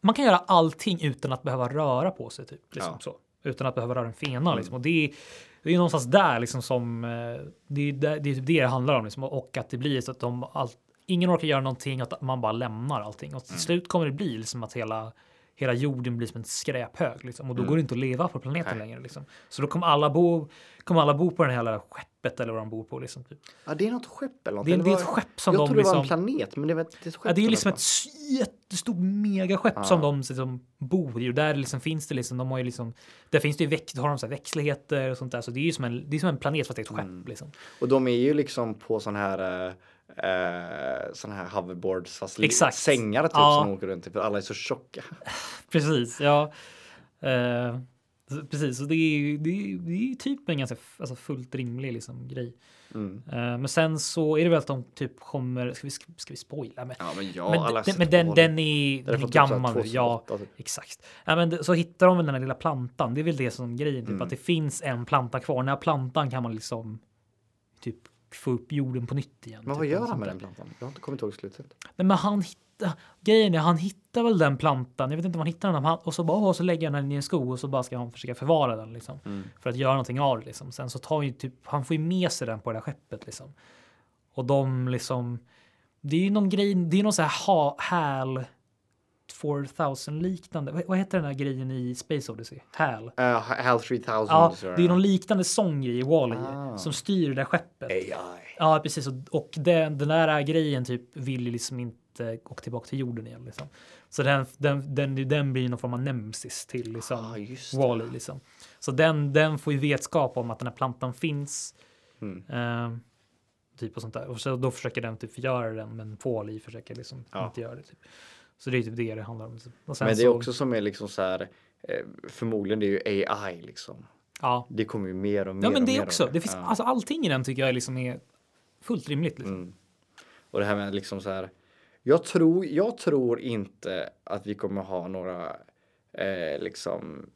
[SPEAKER 1] man kan göra allting utan att behöva röra på sig typ. Liksom,
[SPEAKER 2] Ja. Mm.
[SPEAKER 1] så. Utan att behöva röra en fena liksom. Och det är, det är någonstans där liksom som, eh, det är, där, det är typ det det handlar om liksom. Och att det blir så att de, allt, ingen orkar göra någonting och att man bara lämnar allting.
[SPEAKER 2] Mm.
[SPEAKER 1] Och till slut kommer det bli liksom att hela Hela jorden blir som en skräphög liksom.
[SPEAKER 2] Mm.
[SPEAKER 1] och då går det inte att leva på planeten längre. Liksom. Så då kommer alla bo, kommer alla bo på den här jävla skeppet eller vad de bor på. Liksom, typ.
[SPEAKER 2] Ja, det är något skepp eller något.
[SPEAKER 1] Det är-
[SPEAKER 2] Eller
[SPEAKER 1] det är ett
[SPEAKER 2] vad-
[SPEAKER 1] skepp som
[SPEAKER 2] Jag
[SPEAKER 1] de
[SPEAKER 2] trodde det var en
[SPEAKER 1] liksom-
[SPEAKER 2] planet, men det var ett, det är ett skepp.
[SPEAKER 1] Ja, det är
[SPEAKER 2] som
[SPEAKER 1] ju liksom
[SPEAKER 2] de-
[SPEAKER 1] ett s- jättestort megaskepp som de liksom bor i och där liksom finns det liksom. De har ju liksom. Där finns det ju väx, har de så här växtligheter och sånt där, så det är ju som en. Det är som en planet fast det är ett skepp liksom.
[SPEAKER 2] Och de är ju liksom på sån här eh, eh, sån här hoverboards fast li-
[SPEAKER 1] Exakt.
[SPEAKER 2] sängar typ
[SPEAKER 1] Ja.
[SPEAKER 2] som åker runt i, för alla är så tjocka.
[SPEAKER 1] Precis, ja. Eh, så- precis, så det är ju det är, det är ju typ en ganska f- alltså fullt rimlig liksom, grej. Eh, men sen så är det väl att de typ kommer. Ska vi, ska vi spoila? Men,
[SPEAKER 2] Ja, men ja,
[SPEAKER 1] men,
[SPEAKER 2] alla har
[SPEAKER 1] den,
[SPEAKER 2] sett
[SPEAKER 1] men den,
[SPEAKER 2] Wall-E.
[SPEAKER 1] den är,
[SPEAKER 2] Den är
[SPEAKER 1] den är
[SPEAKER 2] från typ så här
[SPEAKER 1] gammal. nu, ja,
[SPEAKER 2] 2008 typ.
[SPEAKER 1] exakt. Ja, men det- så hittar de väl den här lilla plantan. Det är väl det som är grejen, typ
[SPEAKER 2] Mm.
[SPEAKER 1] att det finns en planta kvar. Den här plantan kan man liksom typ få upp jorden på nytt igen.
[SPEAKER 2] Men
[SPEAKER 1] typ,
[SPEAKER 2] vad
[SPEAKER 1] eller
[SPEAKER 2] gör han
[SPEAKER 1] sånt
[SPEAKER 2] med
[SPEAKER 1] där.
[SPEAKER 2] den plantan? Jag har inte kommit ihåg slutet.
[SPEAKER 1] Nej, men han hittar grejen är han hittar väl den plantan. Jag vet inte om han hittar den men han, och så bara åh, så lägger han den i en skog och så bara ska han försöka förvara den liksom för att göra någonting av det liksom. Sen så tar han ju typ han får ju med sig den på det här skeppet liksom och de liksom. Det är ju någon grej. Det är någon så här ha, HAL 4000 liknande. Vad, vad heter den här grejen i Space Odyssey? HAL.
[SPEAKER 2] Uh, HAL 3000.
[SPEAKER 1] Ja,
[SPEAKER 2] så-
[SPEAKER 1] det är någon liknande sång i Wall-E
[SPEAKER 2] Ah.
[SPEAKER 1] som styr det där skeppet.
[SPEAKER 2] AI.
[SPEAKER 1] Ja, precis. Och, och den, den där grejen typ vill ju liksom inte gå tillbaka till jorden igen. Liksom. Så den, den, den, den blir ju någon form av nemesis till liksom,
[SPEAKER 2] Ah, just det.
[SPEAKER 1] Wall-E. Liksom. Så den, den får ju vetskap om att den här plantan finns.
[SPEAKER 2] Mm.
[SPEAKER 1] Eh, typ och sånt där. Och så, då försöker den typ förgöra den, men Wall-E försöker liksom
[SPEAKER 2] Ja.
[SPEAKER 1] inte göra det. Typ. Så det är typ det det handlar om. Och sen
[SPEAKER 2] Men det är
[SPEAKER 1] så-
[SPEAKER 2] också som är liksom så här, eh, förmodligen det är ju AI liksom.
[SPEAKER 1] Ja,
[SPEAKER 2] Det kommer ju mer och mer.
[SPEAKER 1] ja men
[SPEAKER 2] och
[SPEAKER 1] det
[SPEAKER 2] mer
[SPEAKER 1] är
[SPEAKER 2] av
[SPEAKER 1] också. Det finns,
[SPEAKER 2] Ja.
[SPEAKER 1] alltså, allting i den tycker jag liksom är fullt rimligt. Liksom.
[SPEAKER 2] Mm. Och det här med liksom så här Jag tror, jag tror inte att vi kommer ha några eh, liksom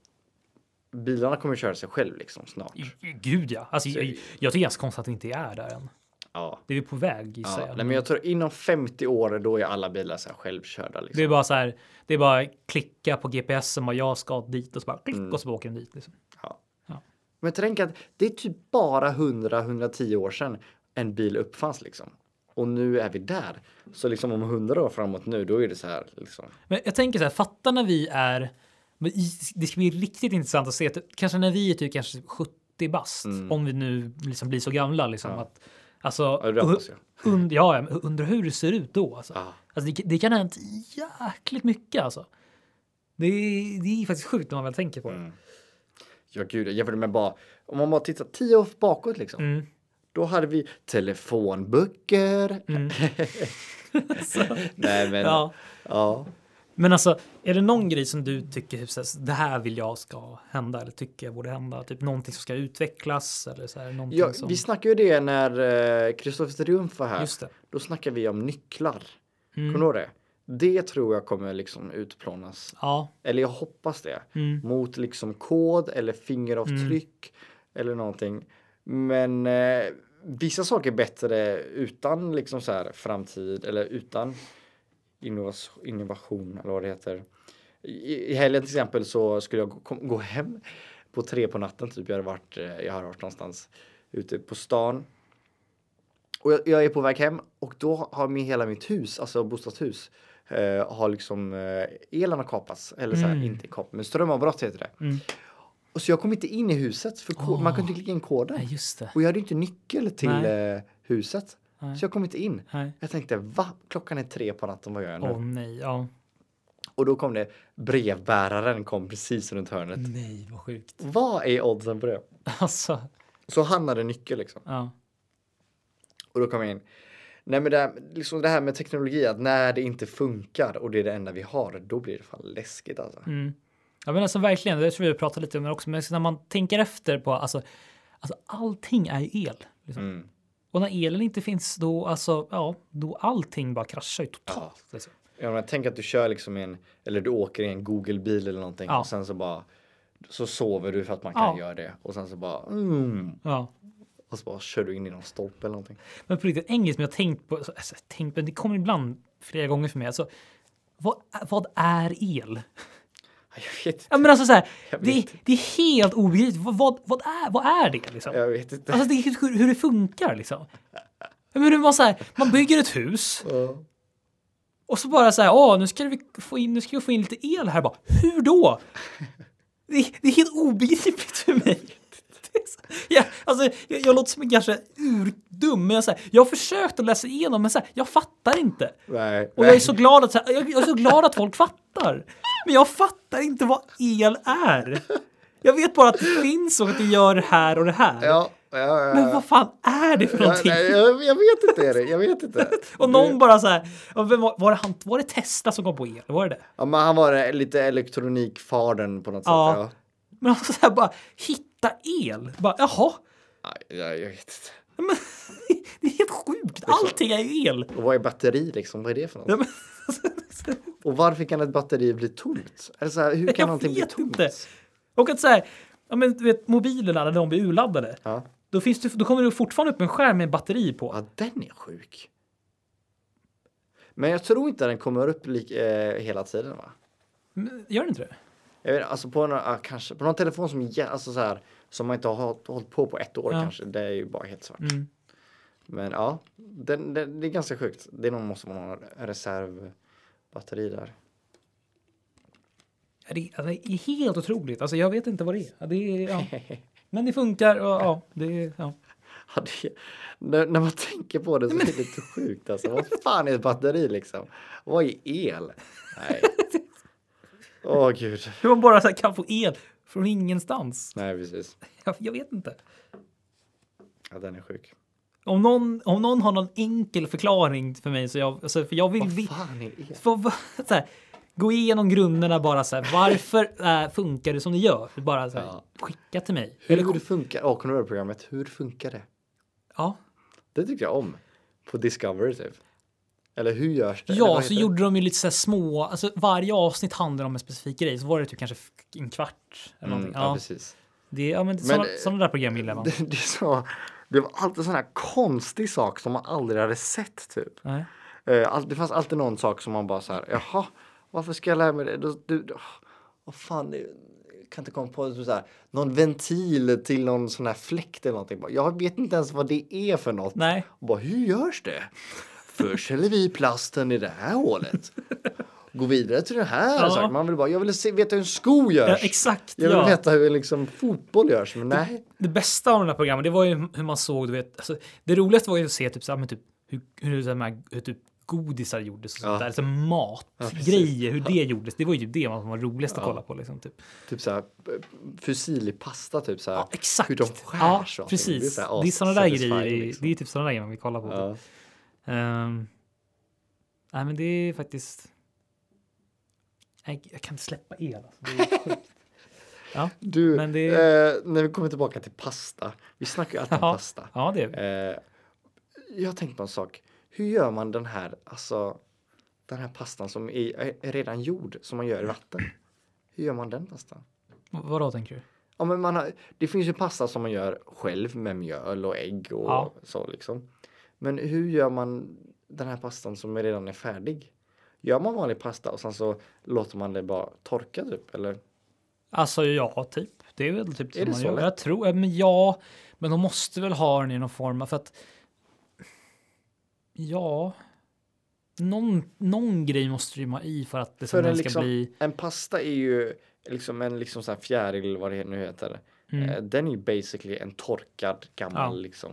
[SPEAKER 2] bilarna kommer köra sig själv liksom snart.
[SPEAKER 1] Mm. Gud ja. Alltså, jag, jag tycker det är ganska konstigt att det inte är där än.
[SPEAKER 2] Ja.
[SPEAKER 1] Det är vi på väg gissar
[SPEAKER 2] ja.
[SPEAKER 1] jag.
[SPEAKER 2] Nej, men jag tror inom 50 år då är alla bilar så här självkörda. Liksom.
[SPEAKER 1] Det är bara så här. Det är bara klicka på GPSen och jag ska dit och så bara klick
[SPEAKER 2] Mm.
[SPEAKER 1] och så åker den dit. Liksom.
[SPEAKER 2] Ja.
[SPEAKER 1] Ja.
[SPEAKER 2] Men tänk att det är typ bara 100-110 år sedan en bil uppfanns liksom. Och nu är vi där. Så liksom om 100 år framåt nu, då är det så här liksom.
[SPEAKER 1] Men jag tänker så här, fatta när vi är, men i- det ska bli riktigt intressant att se, att- kanske när vi är typ kanske 70 bast, om vi nu liksom blir så gamla liksom. Att, alltså,
[SPEAKER 2] Mm. Ja, det hoppas jag.
[SPEAKER 1] und, ja, ja, men undra hur det ser ut då. Alltså.
[SPEAKER 2] Ja.
[SPEAKER 1] Alltså, det, det kan ha hänt jäkligt mycket alltså. Det, är- det är faktiskt sjukt när man väl tänker
[SPEAKER 2] Mm.
[SPEAKER 1] på det.
[SPEAKER 2] Ja gud, jag jämförde med bara, om man bara tittar 10 år bakåt liksom.
[SPEAKER 1] Mm.
[SPEAKER 2] Då hade vi telefonböcker. [LAUGHS] Nej men, ja.
[SPEAKER 1] Mm. Ja. Men alltså, är det någon grej som du tycker typ, såhär, det här vill jag ska hända eller tycker jag borde hända? Typ någonting som ska utvecklas eller så här, någonting
[SPEAKER 2] Ja,
[SPEAKER 1] som...
[SPEAKER 2] Vi snackade ju det när Kristoffer Triumf var här.
[SPEAKER 1] Just det. Mm.
[SPEAKER 2] Då snackade vi om nycklar. Kommer du ihåg det? Det tror jag kommer liksom utplånas
[SPEAKER 1] Ja,
[SPEAKER 2] eller jag hoppas det,
[SPEAKER 1] Mm.
[SPEAKER 2] mot liksom kod eller fingeravtryck eller någonting. Men eh, vissa saker är bättre utan liksom så här framtid eller utan innovas- innovation eller vad det heter. I, I helgen till exempel så skulle jag gå, kom, gå hem på tre på natten typ. Jag hade varit, eh, jag har varit någonstans ute på stan. Och jag, jag är på väg hem och då har min, hela mitt hus, alltså bostadshus, eh, har liksom eh, elen har kapats. Eller så här,
[SPEAKER 1] Mm.
[SPEAKER 2] inte kapat, men strömavbrott heter det.
[SPEAKER 1] Mm.
[SPEAKER 2] Och så jag kom inte in i huset för ko- man kunde inte klicka in koden.
[SPEAKER 1] nej, just det.
[SPEAKER 2] Och jag hade ju inte nyckel till
[SPEAKER 1] Nej.
[SPEAKER 2] eh, huset.
[SPEAKER 1] Nej.
[SPEAKER 2] Så jag kom inte in.
[SPEAKER 1] Nej.
[SPEAKER 2] Jag tänkte, va? Klockan är tre på natten, vad gör jag nu?
[SPEAKER 1] Åh nej, ja.
[SPEAKER 2] Och då kom det, brevbäraren kom precis runt hörnet.
[SPEAKER 1] Nej, vad sjukt. [LAUGHS]
[SPEAKER 2] Vad är oddsen på det?
[SPEAKER 1] Alltså,
[SPEAKER 2] Så han hade nyckel liksom.
[SPEAKER 1] ja.
[SPEAKER 2] Och då kom jag in. Nej men det här, liksom det här med teknologi, att när det inte funkar och det är det enda vi har, då blir det fan läskigt alltså.
[SPEAKER 1] Mm. Ja, men alltså verkligen, det tror jag vi pratade lite om det också, men alltså, när man tänker efter på alltså, alltså allting är ju el. Liksom.
[SPEAKER 2] Mm.
[SPEAKER 1] Och när elen inte finns då, alltså, ja, då allting bara kraschar ju totalt. Liksom.
[SPEAKER 2] Ja, men tänk att du kör liksom i en, eller du åker i en Google-bil eller någonting
[SPEAKER 1] Ja.
[SPEAKER 2] och sen så bara, så sover du för att man kan
[SPEAKER 1] Ja.
[SPEAKER 2] göra det. Och sen så bara, mm,
[SPEAKER 1] Ja.
[SPEAKER 2] och så bara kör du in i någon stolpe eller någonting.
[SPEAKER 1] Men på riktigt, en grej som jag har tänkt på, alltså, alltså, tänkt, men det kommer ibland flera gånger för mig, alltså, vad, vad är el?
[SPEAKER 2] Jag vet,
[SPEAKER 1] Ja, men alltså, så här,
[SPEAKER 2] Jag vet
[SPEAKER 1] det,
[SPEAKER 2] inte.
[SPEAKER 1] det är helt obegripligt. Vad, vad, vad, är, vad är det? Liksom?
[SPEAKER 2] jag vet inte.
[SPEAKER 1] Alltså det är helt sjukt hur det funkar liksom. Men hur man, så här, man bygger ett hus
[SPEAKER 2] Ja.
[SPEAKER 1] och så bara så här, åh, nu ska vi få in, nu ska vi få in lite el här bara. Hur då? Det, är- det är helt obegripligt för mig. Det är så- Ja, alltså, jag, jag låter som en kanske urdum, men jag, så här, jag har försökt att läsa igenom, men så här, jag fattar inte.
[SPEAKER 2] Nej.
[SPEAKER 1] Och jag är så glad att, så här, jag, jag är så glad att folk fattar. Men jag fattar inte vad el är. Jag vet bara att det finns och att det gör det här och det här.
[SPEAKER 2] Ja, ja, ja.
[SPEAKER 1] Men vad fan är det för någonting?
[SPEAKER 2] Nej, jag, jag vet inte Erik, jag vet inte.
[SPEAKER 1] [LAUGHS] Och någon bara så här, ja, vem var, var, det han, var det Testa som kom på el? Var det det?
[SPEAKER 2] Ja, men han var eh, lite elektronikfadern på något sätt.
[SPEAKER 1] Ja.
[SPEAKER 2] Ja.
[SPEAKER 1] Men alltså [LAUGHS] så här bara, hitta el? Bara, jaha? [LAUGHS]
[SPEAKER 2] Nej, jag, jag vet inte.
[SPEAKER 1] Men, det är helt sjukt, allting är ju el!
[SPEAKER 2] Och vad är batteri liksom? Vad är det för något?
[SPEAKER 1] Ja, men, [LAUGHS]
[SPEAKER 2] Och varför kan ett batteri bli tomt? Eller så här, hur kan
[SPEAKER 1] Jag
[SPEAKER 2] någonting bli
[SPEAKER 1] vet
[SPEAKER 2] tomt?
[SPEAKER 1] inte. Och att så här, ja, men, du vet, mobilerna när de blir urladdade,
[SPEAKER 2] Ja.
[SPEAKER 1] då, finns det, då kommer det fortfarande upp en skärm med en batteri på.
[SPEAKER 2] ja, den är sjuk. Men jag tror inte den kommer upp lik, eh, hela tiden va?
[SPEAKER 1] Men, Gör det inte det?
[SPEAKER 2] Jag vet, alltså på, en, ja, kanske, på någon telefon som, ja, alltså så här, som man inte har hållit- hållit på på ett år
[SPEAKER 1] Ja.
[SPEAKER 2] kanske. Det är ju bara helt svart.
[SPEAKER 1] Mm.
[SPEAKER 2] Men ja, den, den, det är ganska sjukt. Det är nog måste vara någon reservbatteri där.
[SPEAKER 1] Ja, Det, alltså, det är helt otroligt, alltså, jag vet inte vad det är. Ja, det är ja. [LAUGHS] Men det funkar och ja, det är... Ja.
[SPEAKER 2] Ja, det, när, när man tänker på det så är det lite sjukt alltså. Vad fan är ett batteri liksom? Vad är el?
[SPEAKER 1] [LAUGHS]
[SPEAKER 2] Nej. Åh gud.
[SPEAKER 1] Hur man bara så här, kan få el från ingenstans.
[SPEAKER 2] Nej precis.
[SPEAKER 1] Jag, jag vet inte.
[SPEAKER 2] Ja, den är sjuk.
[SPEAKER 1] Om någon, om någon har någon enkel förklaring för mig så jag, alltså, för jag vill
[SPEAKER 2] Vad
[SPEAKER 1] vi-
[SPEAKER 2] fan är el?
[SPEAKER 1] för, vad- [LAUGHS] så här, gå igenom grunderna bara så här. Varför äh, funkar det som det gör? Bara så här,
[SPEAKER 2] Ja.
[SPEAKER 1] skicka till mig. Eller,
[SPEAKER 2] Hur det funkar? Ja, kommer du ihåg programmet? Hur funkar det?
[SPEAKER 1] ja,
[SPEAKER 2] Det tyckte jag om. På Discovery typ. Eller hur görs det? Eller
[SPEAKER 1] Ja,
[SPEAKER 2] vad
[SPEAKER 1] så
[SPEAKER 2] heter det?
[SPEAKER 1] gjorde de ju lite så här små, alltså varje avsnitt handlade om en specifik grej, så var det typ kanske f- en kvart eller
[SPEAKER 2] Mm,
[SPEAKER 1] någonting.
[SPEAKER 2] ja,
[SPEAKER 1] Ja,
[SPEAKER 2] precis.
[SPEAKER 1] det, ja men, men
[SPEAKER 2] Men,
[SPEAKER 1] sådana,
[SPEAKER 2] eh,
[SPEAKER 1] sådana där program gillar man.
[SPEAKER 2] Det, det, så, det var alltid sån här konstig sak som man aldrig hade sett typ.
[SPEAKER 1] Nej.
[SPEAKER 2] Eh, all- Det fanns alltid någon sak som man bara så här, jaha, varför ska jag lära mig det? Du, du, du- vad fan, det- jag kan inte komma på det. Så här, någon ventil till någon sån här fläkt eller någonting. Bara, Jag vet inte ens vad det är för något.
[SPEAKER 1] Nej.
[SPEAKER 2] Och bara, hur görs det? Först häller vi plasten i det här hålet. Gå vidare till det här.
[SPEAKER 1] Ja.
[SPEAKER 2] saken. Man vill bara, jag vill se, veta hur en sko görs.
[SPEAKER 1] Ja, exakt.
[SPEAKER 2] Jag vill
[SPEAKER 1] ja.
[SPEAKER 2] veta hur liksom fotboll görs, men nej.
[SPEAKER 1] det bästa av de här programmen, det var ju hur man såg, du vet, alltså, det roligaste var ju att se typ, så här, men, typ hur, hur, de här, hur typ godisar gjordes och sånt
[SPEAKER 2] Ja.
[SPEAKER 1] där, alltså matgrejer, hur det gjordes. Det var ju typ det man var roligast att kolla på liksom. Typ.
[SPEAKER 2] Typ så här, fusilipasta typ så här.
[SPEAKER 1] Ja, exakt.
[SPEAKER 2] Hur de skär
[SPEAKER 1] ja,
[SPEAKER 2] saker.
[SPEAKER 1] precis. Det
[SPEAKER 2] så här
[SPEAKER 1] är sådana där
[SPEAKER 2] as-satisfying,
[SPEAKER 1] grejer, i-
[SPEAKER 2] liksom.
[SPEAKER 1] det är typ sådana där grejer man vill kolla på.
[SPEAKER 2] Ja.
[SPEAKER 1] Ehm, nej, men det är faktiskt. Nej, jag kan inte släppa el. Alltså. Det är
[SPEAKER 2] [LAUGHS]
[SPEAKER 1] sjukt. ja,
[SPEAKER 2] Du,
[SPEAKER 1] Men det-
[SPEAKER 2] eh, när vi kommer tillbaka till pasta. Vi snackar ju alltid om
[SPEAKER 1] Ja.
[SPEAKER 2] pasta.
[SPEAKER 1] ja, det är vi.
[SPEAKER 2] Eh, jag har tänkt på en sak. Hur gör man den här, alltså, den här pastan som är, är redan gjord, som man gör i vatten? Hur gör man den pastan?
[SPEAKER 1] Vadå tänker du?
[SPEAKER 2] Ja, men man har, det finns ju pasta som man gör själv med mjöl och ägg och
[SPEAKER 1] Ja.
[SPEAKER 2] så liksom. Men hur gör man den här pastan som redan är färdig? Gör man vanlig pasta och sen så låter man det bara torka typ? Eller?
[SPEAKER 1] Alltså ja, typ. Det är väl typ som
[SPEAKER 2] det
[SPEAKER 1] man
[SPEAKER 2] så
[SPEAKER 1] gör.
[SPEAKER 2] lätt?
[SPEAKER 1] Jag tror, ja, men ja, men de måste väl ha den i någon form för att. Ja. Någon, någon grej måste du ju ha i för att det
[SPEAKER 2] För
[SPEAKER 1] sen
[SPEAKER 2] en,
[SPEAKER 1] ska
[SPEAKER 2] liksom,
[SPEAKER 1] bli.
[SPEAKER 2] en pasta är ju liksom en liksom så här fjäril, vad det nu heter.
[SPEAKER 1] mm,
[SPEAKER 2] Eh, Den är ju basically en torkad gammal
[SPEAKER 1] Ja.
[SPEAKER 2] liksom.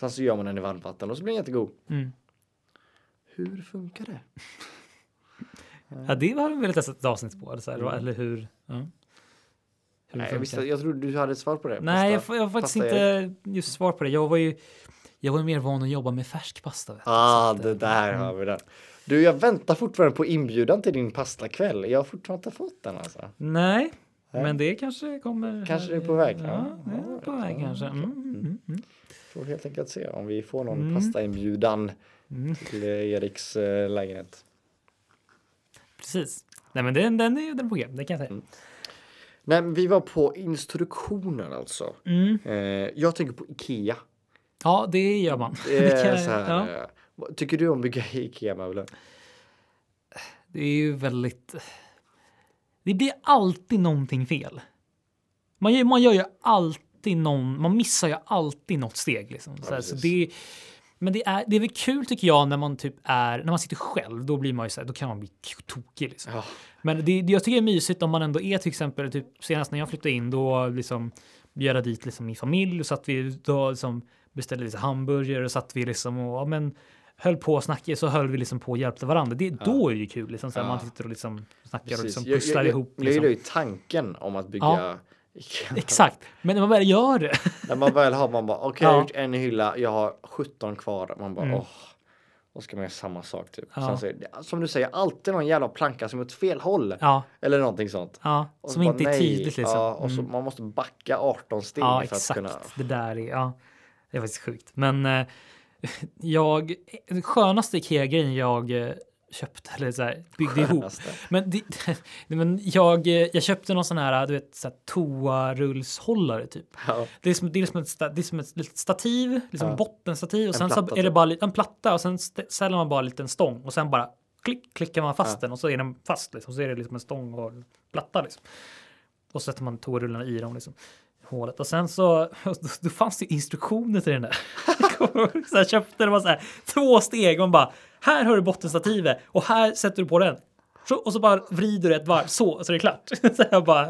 [SPEAKER 2] Sen så gör man den i varmvatten och så blir den jättegod.
[SPEAKER 1] Mm.
[SPEAKER 2] Hur funkar det? eh.
[SPEAKER 1] Ja, det hade vi velat testa ett avsnitt på. Eller, så här, eller hur? Ja. Hur det
[SPEAKER 2] Mm. Nej, jag,
[SPEAKER 1] funkar.
[SPEAKER 2] visste, jag trodde du hade ett svar på det.
[SPEAKER 1] Nej, jag,
[SPEAKER 2] Pasta-
[SPEAKER 1] får- jag har faktiskt
[SPEAKER 2] pasta är-
[SPEAKER 1] inte just svar på det. Jag var ju jag var mer van att jobba med färsk pasta. Vet du.
[SPEAKER 2] Ah,
[SPEAKER 1] Så att, eh,
[SPEAKER 2] det där har vi den. Du, jag väntar fortfarande på inbjudan till din pastakväll. Jag har fortfarande inte fått den alltså.
[SPEAKER 1] Nej, men det kanske kommer.
[SPEAKER 2] Kanske
[SPEAKER 1] här
[SPEAKER 2] det är
[SPEAKER 1] i-
[SPEAKER 2] på väg,
[SPEAKER 1] Ja,
[SPEAKER 2] ja.
[SPEAKER 1] det är på väg kanske. Mm, mm, mm.
[SPEAKER 2] Får helt enkelt se om vi får någon pastainbjudan
[SPEAKER 1] Mm.
[SPEAKER 2] till eh, Eriks eh, lägenhet.
[SPEAKER 1] Precis. Nej, men den, den är den är på G. Det kan jag säga.
[SPEAKER 2] Nej, men vi var på instruktioner alltså.
[SPEAKER 1] Mm.
[SPEAKER 2] Eh, jag tänker på Ikea.
[SPEAKER 1] Ja, [LAUGHS] det gör man.
[SPEAKER 2] Det är
[SPEAKER 1] kan-
[SPEAKER 2] så här,
[SPEAKER 1] ja.
[SPEAKER 2] eh, vad- Tycker du om att bygga Ikea-möbler?
[SPEAKER 1] det är ju väldigt. Det blir alltid någonting fel. Man gör, man gör ju alltid någon. Man missar ju alltid något steg liksom. Så här, så
[SPEAKER 2] precis.
[SPEAKER 1] det, men det är, det är väl kul tycker jag när man typ är när man sitter själv. Då blir man ju så här, då kan man bli k- tokig liksom.
[SPEAKER 2] Ja.
[SPEAKER 1] Men det, det jag tycker är mysigt om man ändå är till exempel typ senast när jag flyttade in då liksom bjöd dit liksom min familj och satt vi då liksom beställde lite hamburgare och satt vi liksom och ja, men höll på och snackade så höll vi liksom på och hjälpte varandra. Det, Då är det ju kul liksom så här,
[SPEAKER 2] Ja.
[SPEAKER 1] man sitter och liksom snackar och liksom
[SPEAKER 2] Jag-
[SPEAKER 1] pusslar
[SPEAKER 2] jag, jag,
[SPEAKER 1] ihop.
[SPEAKER 2] Jag
[SPEAKER 1] Liksom.
[SPEAKER 2] gillar ju tanken om att bygga
[SPEAKER 1] Ja.
[SPEAKER 2] Ikea.
[SPEAKER 1] Exakt, men när man väl gör det. [LAUGHS]
[SPEAKER 2] När man väl har man bara okej jag
[SPEAKER 1] Ja. Mm.
[SPEAKER 2] har gjort en hylla, jag har 17 kvar. Man bara åh. Och ska man göra samma sak typ.
[SPEAKER 1] Ja.
[SPEAKER 2] Sen så är det, som du säger, alltid någon jävla planka som är åt fel håll.
[SPEAKER 1] ja,
[SPEAKER 2] Eller någonting sånt.
[SPEAKER 1] ja,
[SPEAKER 2] Och så
[SPEAKER 1] som
[SPEAKER 2] bara,
[SPEAKER 1] inte är
[SPEAKER 2] nej.
[SPEAKER 1] tydligt liksom.
[SPEAKER 2] Ja, och så man måste backa 18 steg
[SPEAKER 1] Ja,
[SPEAKER 2] för
[SPEAKER 1] exakt.
[SPEAKER 2] att kunna.
[SPEAKER 1] Det där är, ja, det är faktiskt sjukt. Men eh, jag, den skönaste Ikea-grejen jag eh, köpte eller så här, byggde ihop.
[SPEAKER 2] Skönaste.
[SPEAKER 1] Men, det, [LAUGHS] nej, men jag, eh, jag köpte någon sån här, du vet, så här toarullshållare typ.
[SPEAKER 2] Ja.
[SPEAKER 1] Det är som, det är som, ett, sta- det är som ett litet stativ, liksom
[SPEAKER 2] Ja.
[SPEAKER 1] bottenstativ och
[SPEAKER 2] En
[SPEAKER 1] sen så
[SPEAKER 2] platta,
[SPEAKER 1] är det
[SPEAKER 2] typ.
[SPEAKER 1] bara li- en platta och sen st- ställer man bara en liten stång och sen bara klick, klickar man fast
[SPEAKER 2] Ja.
[SPEAKER 1] den och så är den fast liksom. Så är det liksom en stång och en platta liksom. Och så sätter man toarullarna i dem liksom. Hålet. Och sen så [LAUGHS] då, då fanns det ju instruktioner till den där. [LAUGHS] Jag kommer ihåg, så jag köpte det var så här två steg. Man bara här har du bottenstativet och här sätter du på den. Så, och så bara vrider du ett varv så, så är det klart. [LAUGHS] Så jag bara,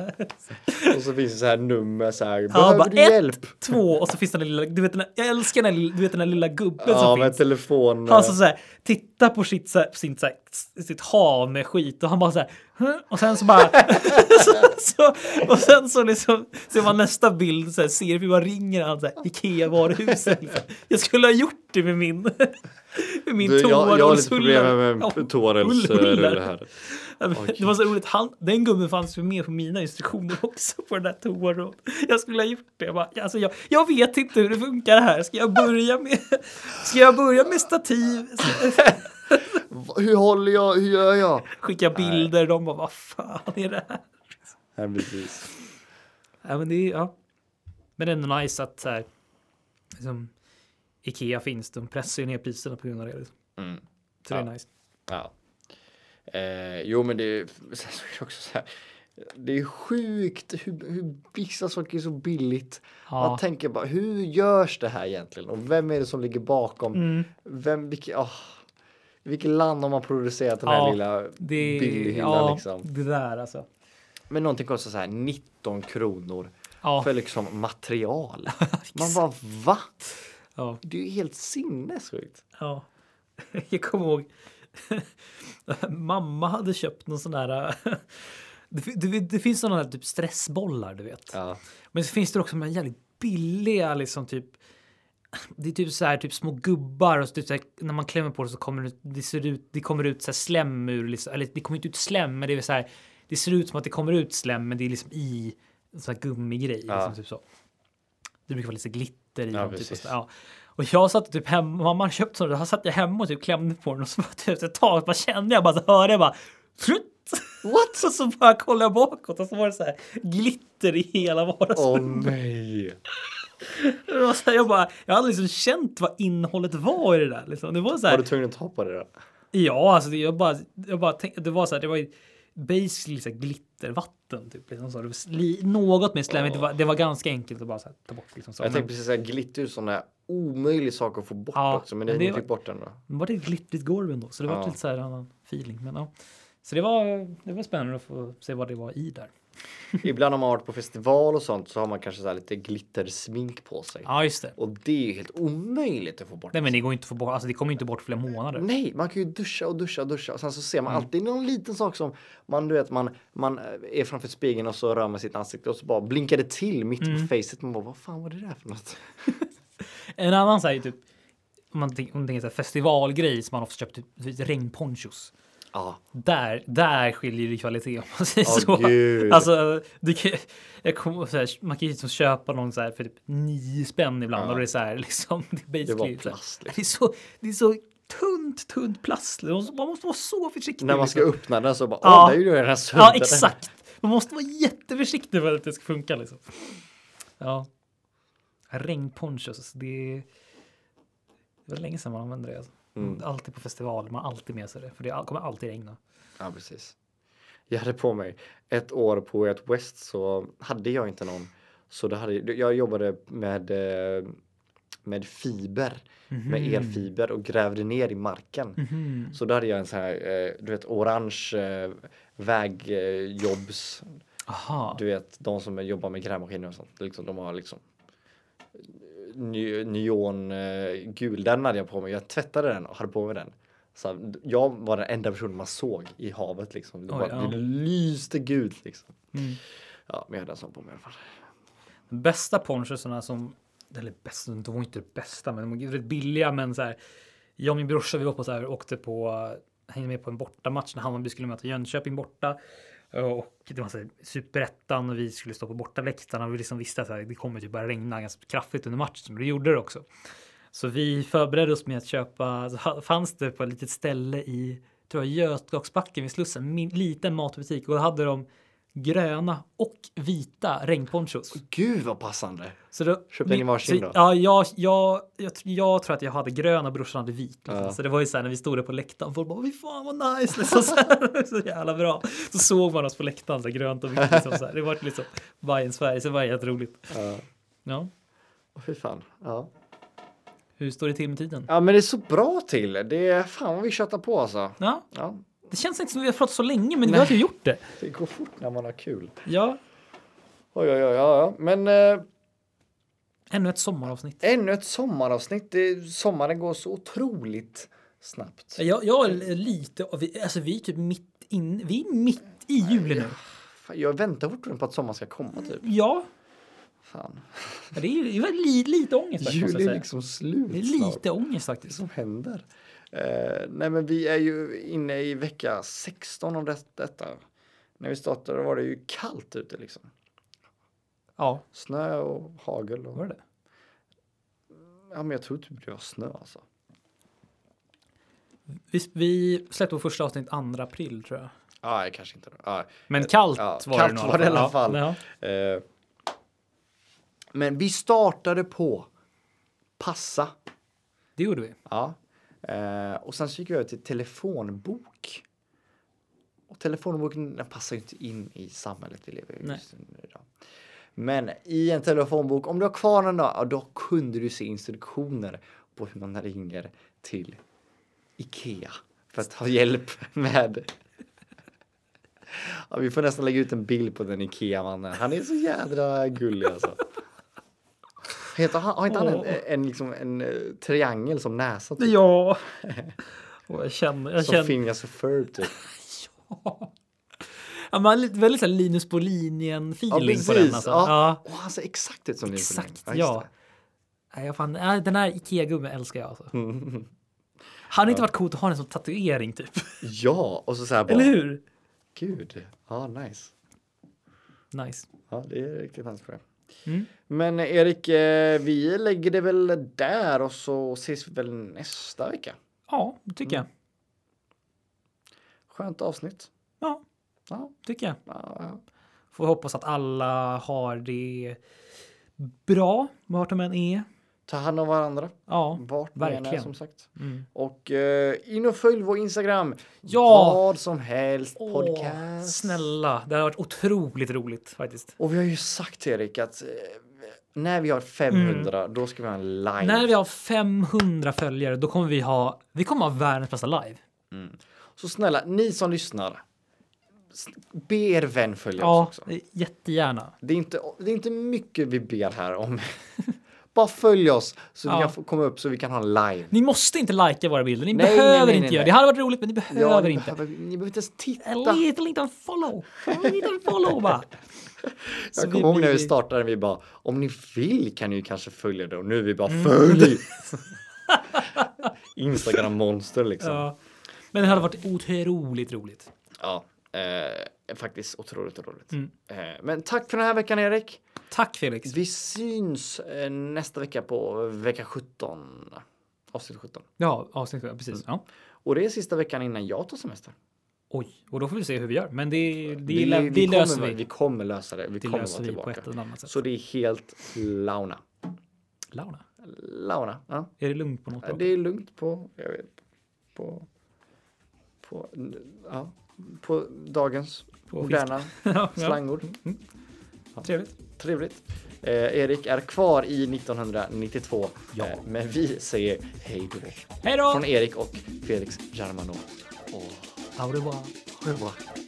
[SPEAKER 2] Och så finns det så här nummer så här.
[SPEAKER 1] Ja,
[SPEAKER 2] Behöver
[SPEAKER 1] bara
[SPEAKER 2] du
[SPEAKER 1] ett,
[SPEAKER 2] hjälp?
[SPEAKER 1] två och så finns den där lilla, du vet den där, jag älskar den, där- du vet den där lilla gubben
[SPEAKER 2] Ja,
[SPEAKER 1] som finns.
[SPEAKER 2] med
[SPEAKER 1] Alltså,
[SPEAKER 2] telefon. eh,
[SPEAKER 1] Han som så här, tittar på sitt, så här, sin, så här, sitt hav med skit och han bara så här, "Hm?" och sen så bara, [LAUGHS] så, så, och sen så liksom ser man nästa bild, så här, ser vi bara ringer han så här, Ikea-varuhuset. Liksom. Jag skulle ha gjort det med min, [LAUGHS] med min
[SPEAKER 2] du, jag, jag har lite
[SPEAKER 1] toarullshullare.
[SPEAKER 2] problem med en toarullsrulle här.
[SPEAKER 1] [LAUGHS] Det var så roligt, han, den gubben fanns ju med på mina instruktioner [LAUGHS] också på den där toan. Jag skulle ha gjort det. Jag, bara, alltså jag, jag vet [LAUGHS] inte hur det funkar här. Ska jag börja med, ska jag börja med stativ? Ska-
[SPEAKER 2] Va- Hur håller jag? Hur gör jag?
[SPEAKER 1] Skicka bilder, de bara vad fan är det här?
[SPEAKER 2] Ja, precis.
[SPEAKER 1] Ja, men det är ja. Men det är ändå nice att så här, liksom, Ikea finns. De pressar ju ner priserna på grund av det. Liksom.
[SPEAKER 2] Mm.
[SPEAKER 1] Så det är nice.
[SPEAKER 2] Ja. Eh, jo, men det är, [LAUGHS] sen så är det också så här. Det är sjukt hur, hur vissa saker är så billigt.
[SPEAKER 1] Ja.
[SPEAKER 2] Man tänker bara, hur görs det här egentligen? Och vem är det som ligger bakom?
[SPEAKER 1] Mm.
[SPEAKER 2] Vem, vilket, oh, vilket land har man producerat den här
[SPEAKER 1] Ja,
[SPEAKER 2] lilla
[SPEAKER 1] Det,
[SPEAKER 2] billighyllan
[SPEAKER 1] ja,
[SPEAKER 2] liksom?
[SPEAKER 1] det där alltså.
[SPEAKER 2] Men någonting kostar så här 19 kronor
[SPEAKER 1] Ja,
[SPEAKER 2] för
[SPEAKER 1] [LAUGHS]
[SPEAKER 2] liksom material. Man bara, va?
[SPEAKER 1] ja,
[SPEAKER 2] Det är ju helt sinnessjukt.
[SPEAKER 1] ja. [LAUGHS] Jag kommer ihåg. [LAUGHS] Mamma hade köpt någon sån där. [LAUGHS] Det, fi- det, det finns sådana här typ stressbollar, du vet.
[SPEAKER 2] Ja.
[SPEAKER 1] Men så finns det också de här jävligt billiga liksom typ. Det är typ så här typ små gubbar och så typ så här, när man klämmer på det så kommer det ut. Det ser ut. Det kommer ut så här slem ur liksom, eller det kommer inte ut slem, men det är så här. Det ser ut som att det kommer ut slem, men det är liksom i en sån här gummigrej.
[SPEAKER 2] Ja.
[SPEAKER 1] Liksom, typ så. Det brukar vara lite glitter i
[SPEAKER 2] Ja,
[SPEAKER 1] dem. Typ, och,
[SPEAKER 2] precis.
[SPEAKER 1] så, ja. och jag satt typ hemma, mamma hade köpt sådana, jag satt jag hemma och typ klämde på den och så bara, typ, efter ett tag bara kände jag bara så hörde jag bara Frutt! What? [LAUGHS] Och så bara kollade jag bakåt och så var det så här glitter i hela vardagsrummet. [LAUGHS]
[SPEAKER 2] Åh nej!
[SPEAKER 1] Det var så här, jag, bara, jag hade liksom känt vad innehållet var i det där. Liksom. Det var så
[SPEAKER 2] Var du
[SPEAKER 1] här,
[SPEAKER 2] tvungen att ta på det då?
[SPEAKER 1] ja, alltså det, jag bara, jag bara tänkte, det var så här, det var ju basically så här glittervatten. Typ, liksom så. Det var sli, något mer slemmigt, det, var, det var ganska enkelt att bara så här, ta bort. Liksom, så.
[SPEAKER 2] Jag
[SPEAKER 1] Men,
[SPEAKER 2] tänkte precis säga glitter är ju sån där omöjlig sak att få bort
[SPEAKER 1] Ja,
[SPEAKER 2] också, men
[SPEAKER 1] men
[SPEAKER 2] ni
[SPEAKER 1] det-
[SPEAKER 2] fick typ bort den då.
[SPEAKER 1] men var det ett glittrigt golv ändå, så det var
[SPEAKER 2] Ja.
[SPEAKER 1] lite så här annan feeling. Men, ja. Så det var, det var spännande att få se vad det var i där.
[SPEAKER 2] Ibland om man har varit på festival och sånt så har man kanske så här lite glittersmink på sig.
[SPEAKER 1] Ja, just det.
[SPEAKER 2] Och det är ju helt omöjligt att få bort.
[SPEAKER 1] Nej, men det går inte att få bort. Alltså, det kommer ju inte bort flera månader.
[SPEAKER 2] Nej, man kan ju duscha och duscha och duscha och sen så ser man
[SPEAKER 1] Mm.
[SPEAKER 2] alltid någon liten sak som man du vet man, man eh, är framför spegeln och så rör man sitt ansikte och så bara blinkar det till mitt
[SPEAKER 1] Mm.
[SPEAKER 2] på facet. Man bara vad fan var det där för något?
[SPEAKER 1] En annan så här, typ, om man tänker, om man tänker så här, festivalgrej som man ofta köpt, typ, typ regnponchos.
[SPEAKER 2] Ja,
[SPEAKER 1] Där, där skiljer det i kvalitet om man säger
[SPEAKER 2] Åh,
[SPEAKER 1] så.
[SPEAKER 2] gud.
[SPEAKER 1] Alltså, du kan, jag kommer, så här, man kan ju liksom köpa någon så här för typ nio spänn ibland
[SPEAKER 2] Ja.
[SPEAKER 1] och det är så här liksom. Det, är
[SPEAKER 2] det var
[SPEAKER 1] basically så här-
[SPEAKER 2] plast. Liksom.
[SPEAKER 1] Det är så, det är så tunt, tunt plast. Man måste, man måste vara så försiktig.
[SPEAKER 2] [LAUGHS] När man ska
[SPEAKER 1] liksom.
[SPEAKER 2] öppna den så bara
[SPEAKER 1] Ja.
[SPEAKER 2] åh, där är ju redan sönder.
[SPEAKER 1] Ja, exakt. Man måste vara jätteförsiktig för att det ska funka liksom. Ja. Regnponchos, alltså, det är... Det var länge sedan man använde det. Alltså.
[SPEAKER 2] Mm.
[SPEAKER 1] Alltid på festivaler, man har alltid med sig det. För det all- kommer alltid regna.
[SPEAKER 2] Ja, precis. Jag hade på mig ett år på ett West så hade jag inte någon. Så det hade, jag jobbade med, eh, med fiber,
[SPEAKER 1] Mm.
[SPEAKER 2] med elfiber och grävde ner i marken. Så då hade jag en sån här, eh, du vet, orange eh, vägjobbs,
[SPEAKER 1] Aha.
[SPEAKER 2] du vet, de som jobbar med grävmaskiner och sånt. Liksom, de har liksom ny, neongul, den hade jag på mig. Jag tvättade den och hade på mig den. Så här, jag var den enda personen man såg i havet liksom. Det,
[SPEAKER 1] Oj,
[SPEAKER 2] bara,
[SPEAKER 1] ja.
[SPEAKER 2] det lyste gult liksom.
[SPEAKER 1] Mm.
[SPEAKER 2] Ja, men jag hade en sån på mig i alla fall.
[SPEAKER 1] De bästa ponchosarna som... Eller bästa, de var inte det bästa, men de var rätt billiga. Men så här, jag och min brorsa vi var på så här, åkte på... Hängde med på en bortamatch när Hammarby skulle möta Jönköping borta. Och det var så här, superettan och vi skulle stå på bortaläktarna. Och vi liksom visste att så här, det kommer typ bara regna ganska kraftigt under matchen. Och det gjorde det också. Så vi förberedde oss med att köpa, så ha- fanns det på ett litet ställe i tror jag, Götgatsbacken vid Slussen, en liten matbutik och då hade de gröna och vita regnponchos.
[SPEAKER 2] Gud vad passande!
[SPEAKER 1] Så då,
[SPEAKER 2] Köpte ni
[SPEAKER 1] min-
[SPEAKER 2] varsin
[SPEAKER 1] så-
[SPEAKER 2] då?
[SPEAKER 1] Ja, jag, jag, jag, tr- jag tror att jag hade grön och brorsan hade vit. Liksom.
[SPEAKER 2] Ja.
[SPEAKER 1] Så det var ju så här när vi stod där på läktaren. Folk bara, "Fy fan vad nice! [LAUGHS] Liksom, så, här, så jävla bra. Så såg man oss på läktaren, så här, grönt och vitt. Liksom, så här. Det var liksom Bajen Sverige, så det var jätteroligt.
[SPEAKER 2] Ja,
[SPEAKER 1] Ja.
[SPEAKER 2] Åh, fy fan. Ja.
[SPEAKER 1] Hur står det till med tiden?
[SPEAKER 2] ja, men det är så bra till. Det är fan vad vi tjötar på alltså.
[SPEAKER 1] Ja,
[SPEAKER 2] Ja,
[SPEAKER 1] det känns inte som vi har pratat så länge, men vi har ju gjort det.
[SPEAKER 2] det går fort när man har kul.
[SPEAKER 1] Ja,
[SPEAKER 2] Oj, oj, oj, ja, ja. Men eh,
[SPEAKER 1] ännu ett sommaravsnitt.
[SPEAKER 2] ännu ett sommaravsnitt. Det, sommaren går så otroligt snabbt.
[SPEAKER 1] Jag, jag är lite, och vi, alltså vi är typ mitt in, vi är mitt i juli nu.
[SPEAKER 2] Fan, jag väntar fortfarande på att sommaren ska komma typ.
[SPEAKER 1] Ja,
[SPEAKER 2] Fan.
[SPEAKER 1] det är ju det är li, lite ångest faktiskt. måste
[SPEAKER 2] Juli
[SPEAKER 1] jag
[SPEAKER 2] är
[SPEAKER 1] säga.
[SPEAKER 2] liksom slut
[SPEAKER 1] Det är
[SPEAKER 2] snart.
[SPEAKER 1] lite ångest
[SPEAKER 2] Det
[SPEAKER 1] faktiskt.
[SPEAKER 2] som händer. Eh, nej men vi är ju inne i vecka 16 av det, detta. När vi startade var det ju kallt ute liksom.
[SPEAKER 1] Ja,
[SPEAKER 2] Snö och hagel. Och,
[SPEAKER 1] var det det?
[SPEAKER 2] ja men jag tror typ det var snö alltså.
[SPEAKER 1] Vi, vi släppte vår första avsnitt 2 april tror jag.
[SPEAKER 2] Ja, Ah, nej, kanske inte. Ja.
[SPEAKER 1] Men kallt
[SPEAKER 2] Ja,
[SPEAKER 1] var
[SPEAKER 2] kallt
[SPEAKER 1] det
[SPEAKER 2] var det i alla fall.
[SPEAKER 1] Ja.
[SPEAKER 2] Eh, Men vi startade på passa.
[SPEAKER 1] Det gjorde vi.
[SPEAKER 2] Ja. Eh, och sen så gick vi över till telefonbok. Och telefonboken den passar ju inte in i samhället vi lever i
[SPEAKER 1] Nej.
[SPEAKER 2] just nu idag. Men i en telefonbok, om du har kvar den då, ja, då kunde du se instruktioner på hur man ringer till Ikea för att ha hjälp med. Ja, vi får nästan lägga ut en bild på den Ikea-mannen. Han är så jädra gullig alltså. Heter han, har inte han en,
[SPEAKER 1] Åh.
[SPEAKER 2] en, liksom, en eh, triangel som näsa? Typ?
[SPEAKER 1] Ja. [LAUGHS] Och jag känner, jag
[SPEAKER 2] Som
[SPEAKER 1] känner.
[SPEAKER 2] Phineas och Ferb typ.
[SPEAKER 1] Ja, man har lite- väldigt så här Linus på linjen feeling på den. Alltså.
[SPEAKER 2] Ja.
[SPEAKER 1] Ja.
[SPEAKER 2] Och han ser exakt ut som Linus
[SPEAKER 1] Exakt,
[SPEAKER 2] Lundgren.
[SPEAKER 1] ja.
[SPEAKER 2] just
[SPEAKER 1] Nej, jag fan, nej, den här Ikea-gubben älskar jag
[SPEAKER 2] [LAUGHS]
[SPEAKER 1] alltså.
[SPEAKER 2] det. Mm.
[SPEAKER 1] Han har inte varit coolt att ha den som tatuering typ.
[SPEAKER 2] Ja, och så så här bara.
[SPEAKER 1] Eller hur?
[SPEAKER 2] Gud, ja nice.
[SPEAKER 1] Nice.
[SPEAKER 2] Ja, det är riktigt hans problem.
[SPEAKER 1] Mm.
[SPEAKER 2] Men eh, Erik, eh, vi lägger det väl där och så ses vi väl nästa vecka.
[SPEAKER 1] Ja, det tycker
[SPEAKER 2] Mm.
[SPEAKER 1] jag.
[SPEAKER 2] Skönt avsnitt.
[SPEAKER 1] Ja,
[SPEAKER 2] Ja,
[SPEAKER 1] tycker jag.
[SPEAKER 2] ja, ja.
[SPEAKER 1] Får hoppas att alla har det bra, vart de än är.
[SPEAKER 2] Ta hand om varandra.
[SPEAKER 1] Ja,
[SPEAKER 2] Vart ni än är
[SPEAKER 1] verkligen.
[SPEAKER 2] som sagt.
[SPEAKER 1] Mm.
[SPEAKER 2] Och eh, in och följ vår Instagram.
[SPEAKER 1] Ja!
[SPEAKER 2] Vad som helst
[SPEAKER 1] Åh,
[SPEAKER 2] podcast.
[SPEAKER 1] Snälla, det har varit otroligt roligt faktiskt.
[SPEAKER 2] Och vi har ju sagt till Erik att eh, när vi har 500 då ska vi ha en live.
[SPEAKER 1] Mm. När vi har 500 följare, då kommer vi ha, vi kommer ha världens bästa live.
[SPEAKER 2] Så snälla, ni som lyssnar. s- Be er vän följa oss
[SPEAKER 1] Ja,
[SPEAKER 2] också.
[SPEAKER 1] jättegärna.
[SPEAKER 2] Det är, inte, det är inte mycket vi ber här om. [LAUGHS] Bara följ oss så vi
[SPEAKER 1] Ja.
[SPEAKER 2] kan få komma upp så vi kan ha en live.
[SPEAKER 1] Ni måste inte lajka våra bilder, ni
[SPEAKER 2] Nej, nej,
[SPEAKER 1] behöver
[SPEAKER 2] nej,
[SPEAKER 1] inte
[SPEAKER 2] nej,
[SPEAKER 1] göra
[SPEAKER 2] nej.
[SPEAKER 1] det. Det hade varit roligt, men ni
[SPEAKER 2] Ja,
[SPEAKER 1] behöver
[SPEAKER 2] ni,
[SPEAKER 1] inte.
[SPEAKER 2] behöver, ni behöver inte ens titta.
[SPEAKER 1] En liten, liten follow. En
[SPEAKER 2] [LAUGHS]
[SPEAKER 1] liten follow bara. Så
[SPEAKER 2] Jag
[SPEAKER 1] vi
[SPEAKER 2] kommer ihåg när vi
[SPEAKER 1] blir-
[SPEAKER 2] startade, vi bara om ni vill kan ni ju kanske följa det och nu är vi bara
[SPEAKER 1] Mm. [LAUGHS]
[SPEAKER 2] följ! Instagram-monster liksom.
[SPEAKER 1] Ja. Men det hade varit otroligt roligt.
[SPEAKER 2] Ja, eh, faktiskt otroligt roligt.
[SPEAKER 1] Mm.
[SPEAKER 2] Eh, men tack för den här veckan Erik.
[SPEAKER 1] Tack Felix.
[SPEAKER 2] Vi syns eh, nästa vecka på vecka 17. Avsnitt 17.
[SPEAKER 1] Ja, avsnitt sju, precis. Ja.
[SPEAKER 2] Och det är sista veckan innan jag tar semester.
[SPEAKER 1] Oj, och då får vi se hur vi gör. Men det, det,
[SPEAKER 2] Vi-
[SPEAKER 1] lä-
[SPEAKER 2] vi
[SPEAKER 1] det
[SPEAKER 2] kommer,
[SPEAKER 1] löser vi.
[SPEAKER 2] Vi kommer lösa det. Vi
[SPEAKER 1] Det
[SPEAKER 2] kommer
[SPEAKER 1] löser
[SPEAKER 2] vara
[SPEAKER 1] vi på
[SPEAKER 2] tillbaka.
[SPEAKER 1] ett eller annat sätt.
[SPEAKER 2] Så det är helt launa.
[SPEAKER 1] Launa,
[SPEAKER 2] Launa. Ja.
[SPEAKER 1] är det lugnt på något
[SPEAKER 2] Ja,
[SPEAKER 1] då?
[SPEAKER 2] Det är lugnt på, jag vet, på, på, ja, på dagens
[SPEAKER 1] På
[SPEAKER 2] moderna
[SPEAKER 1] [LAUGHS] ja, ja.
[SPEAKER 2] slangord.
[SPEAKER 1] Trevligt.
[SPEAKER 2] Trevligt. Eh, Erik är kvar i 1992, eh, men vi säger hej då.
[SPEAKER 1] Hej då!
[SPEAKER 2] Från Erik och Felix Germano. Och
[SPEAKER 1] Au revoir.
[SPEAKER 2] au revoir.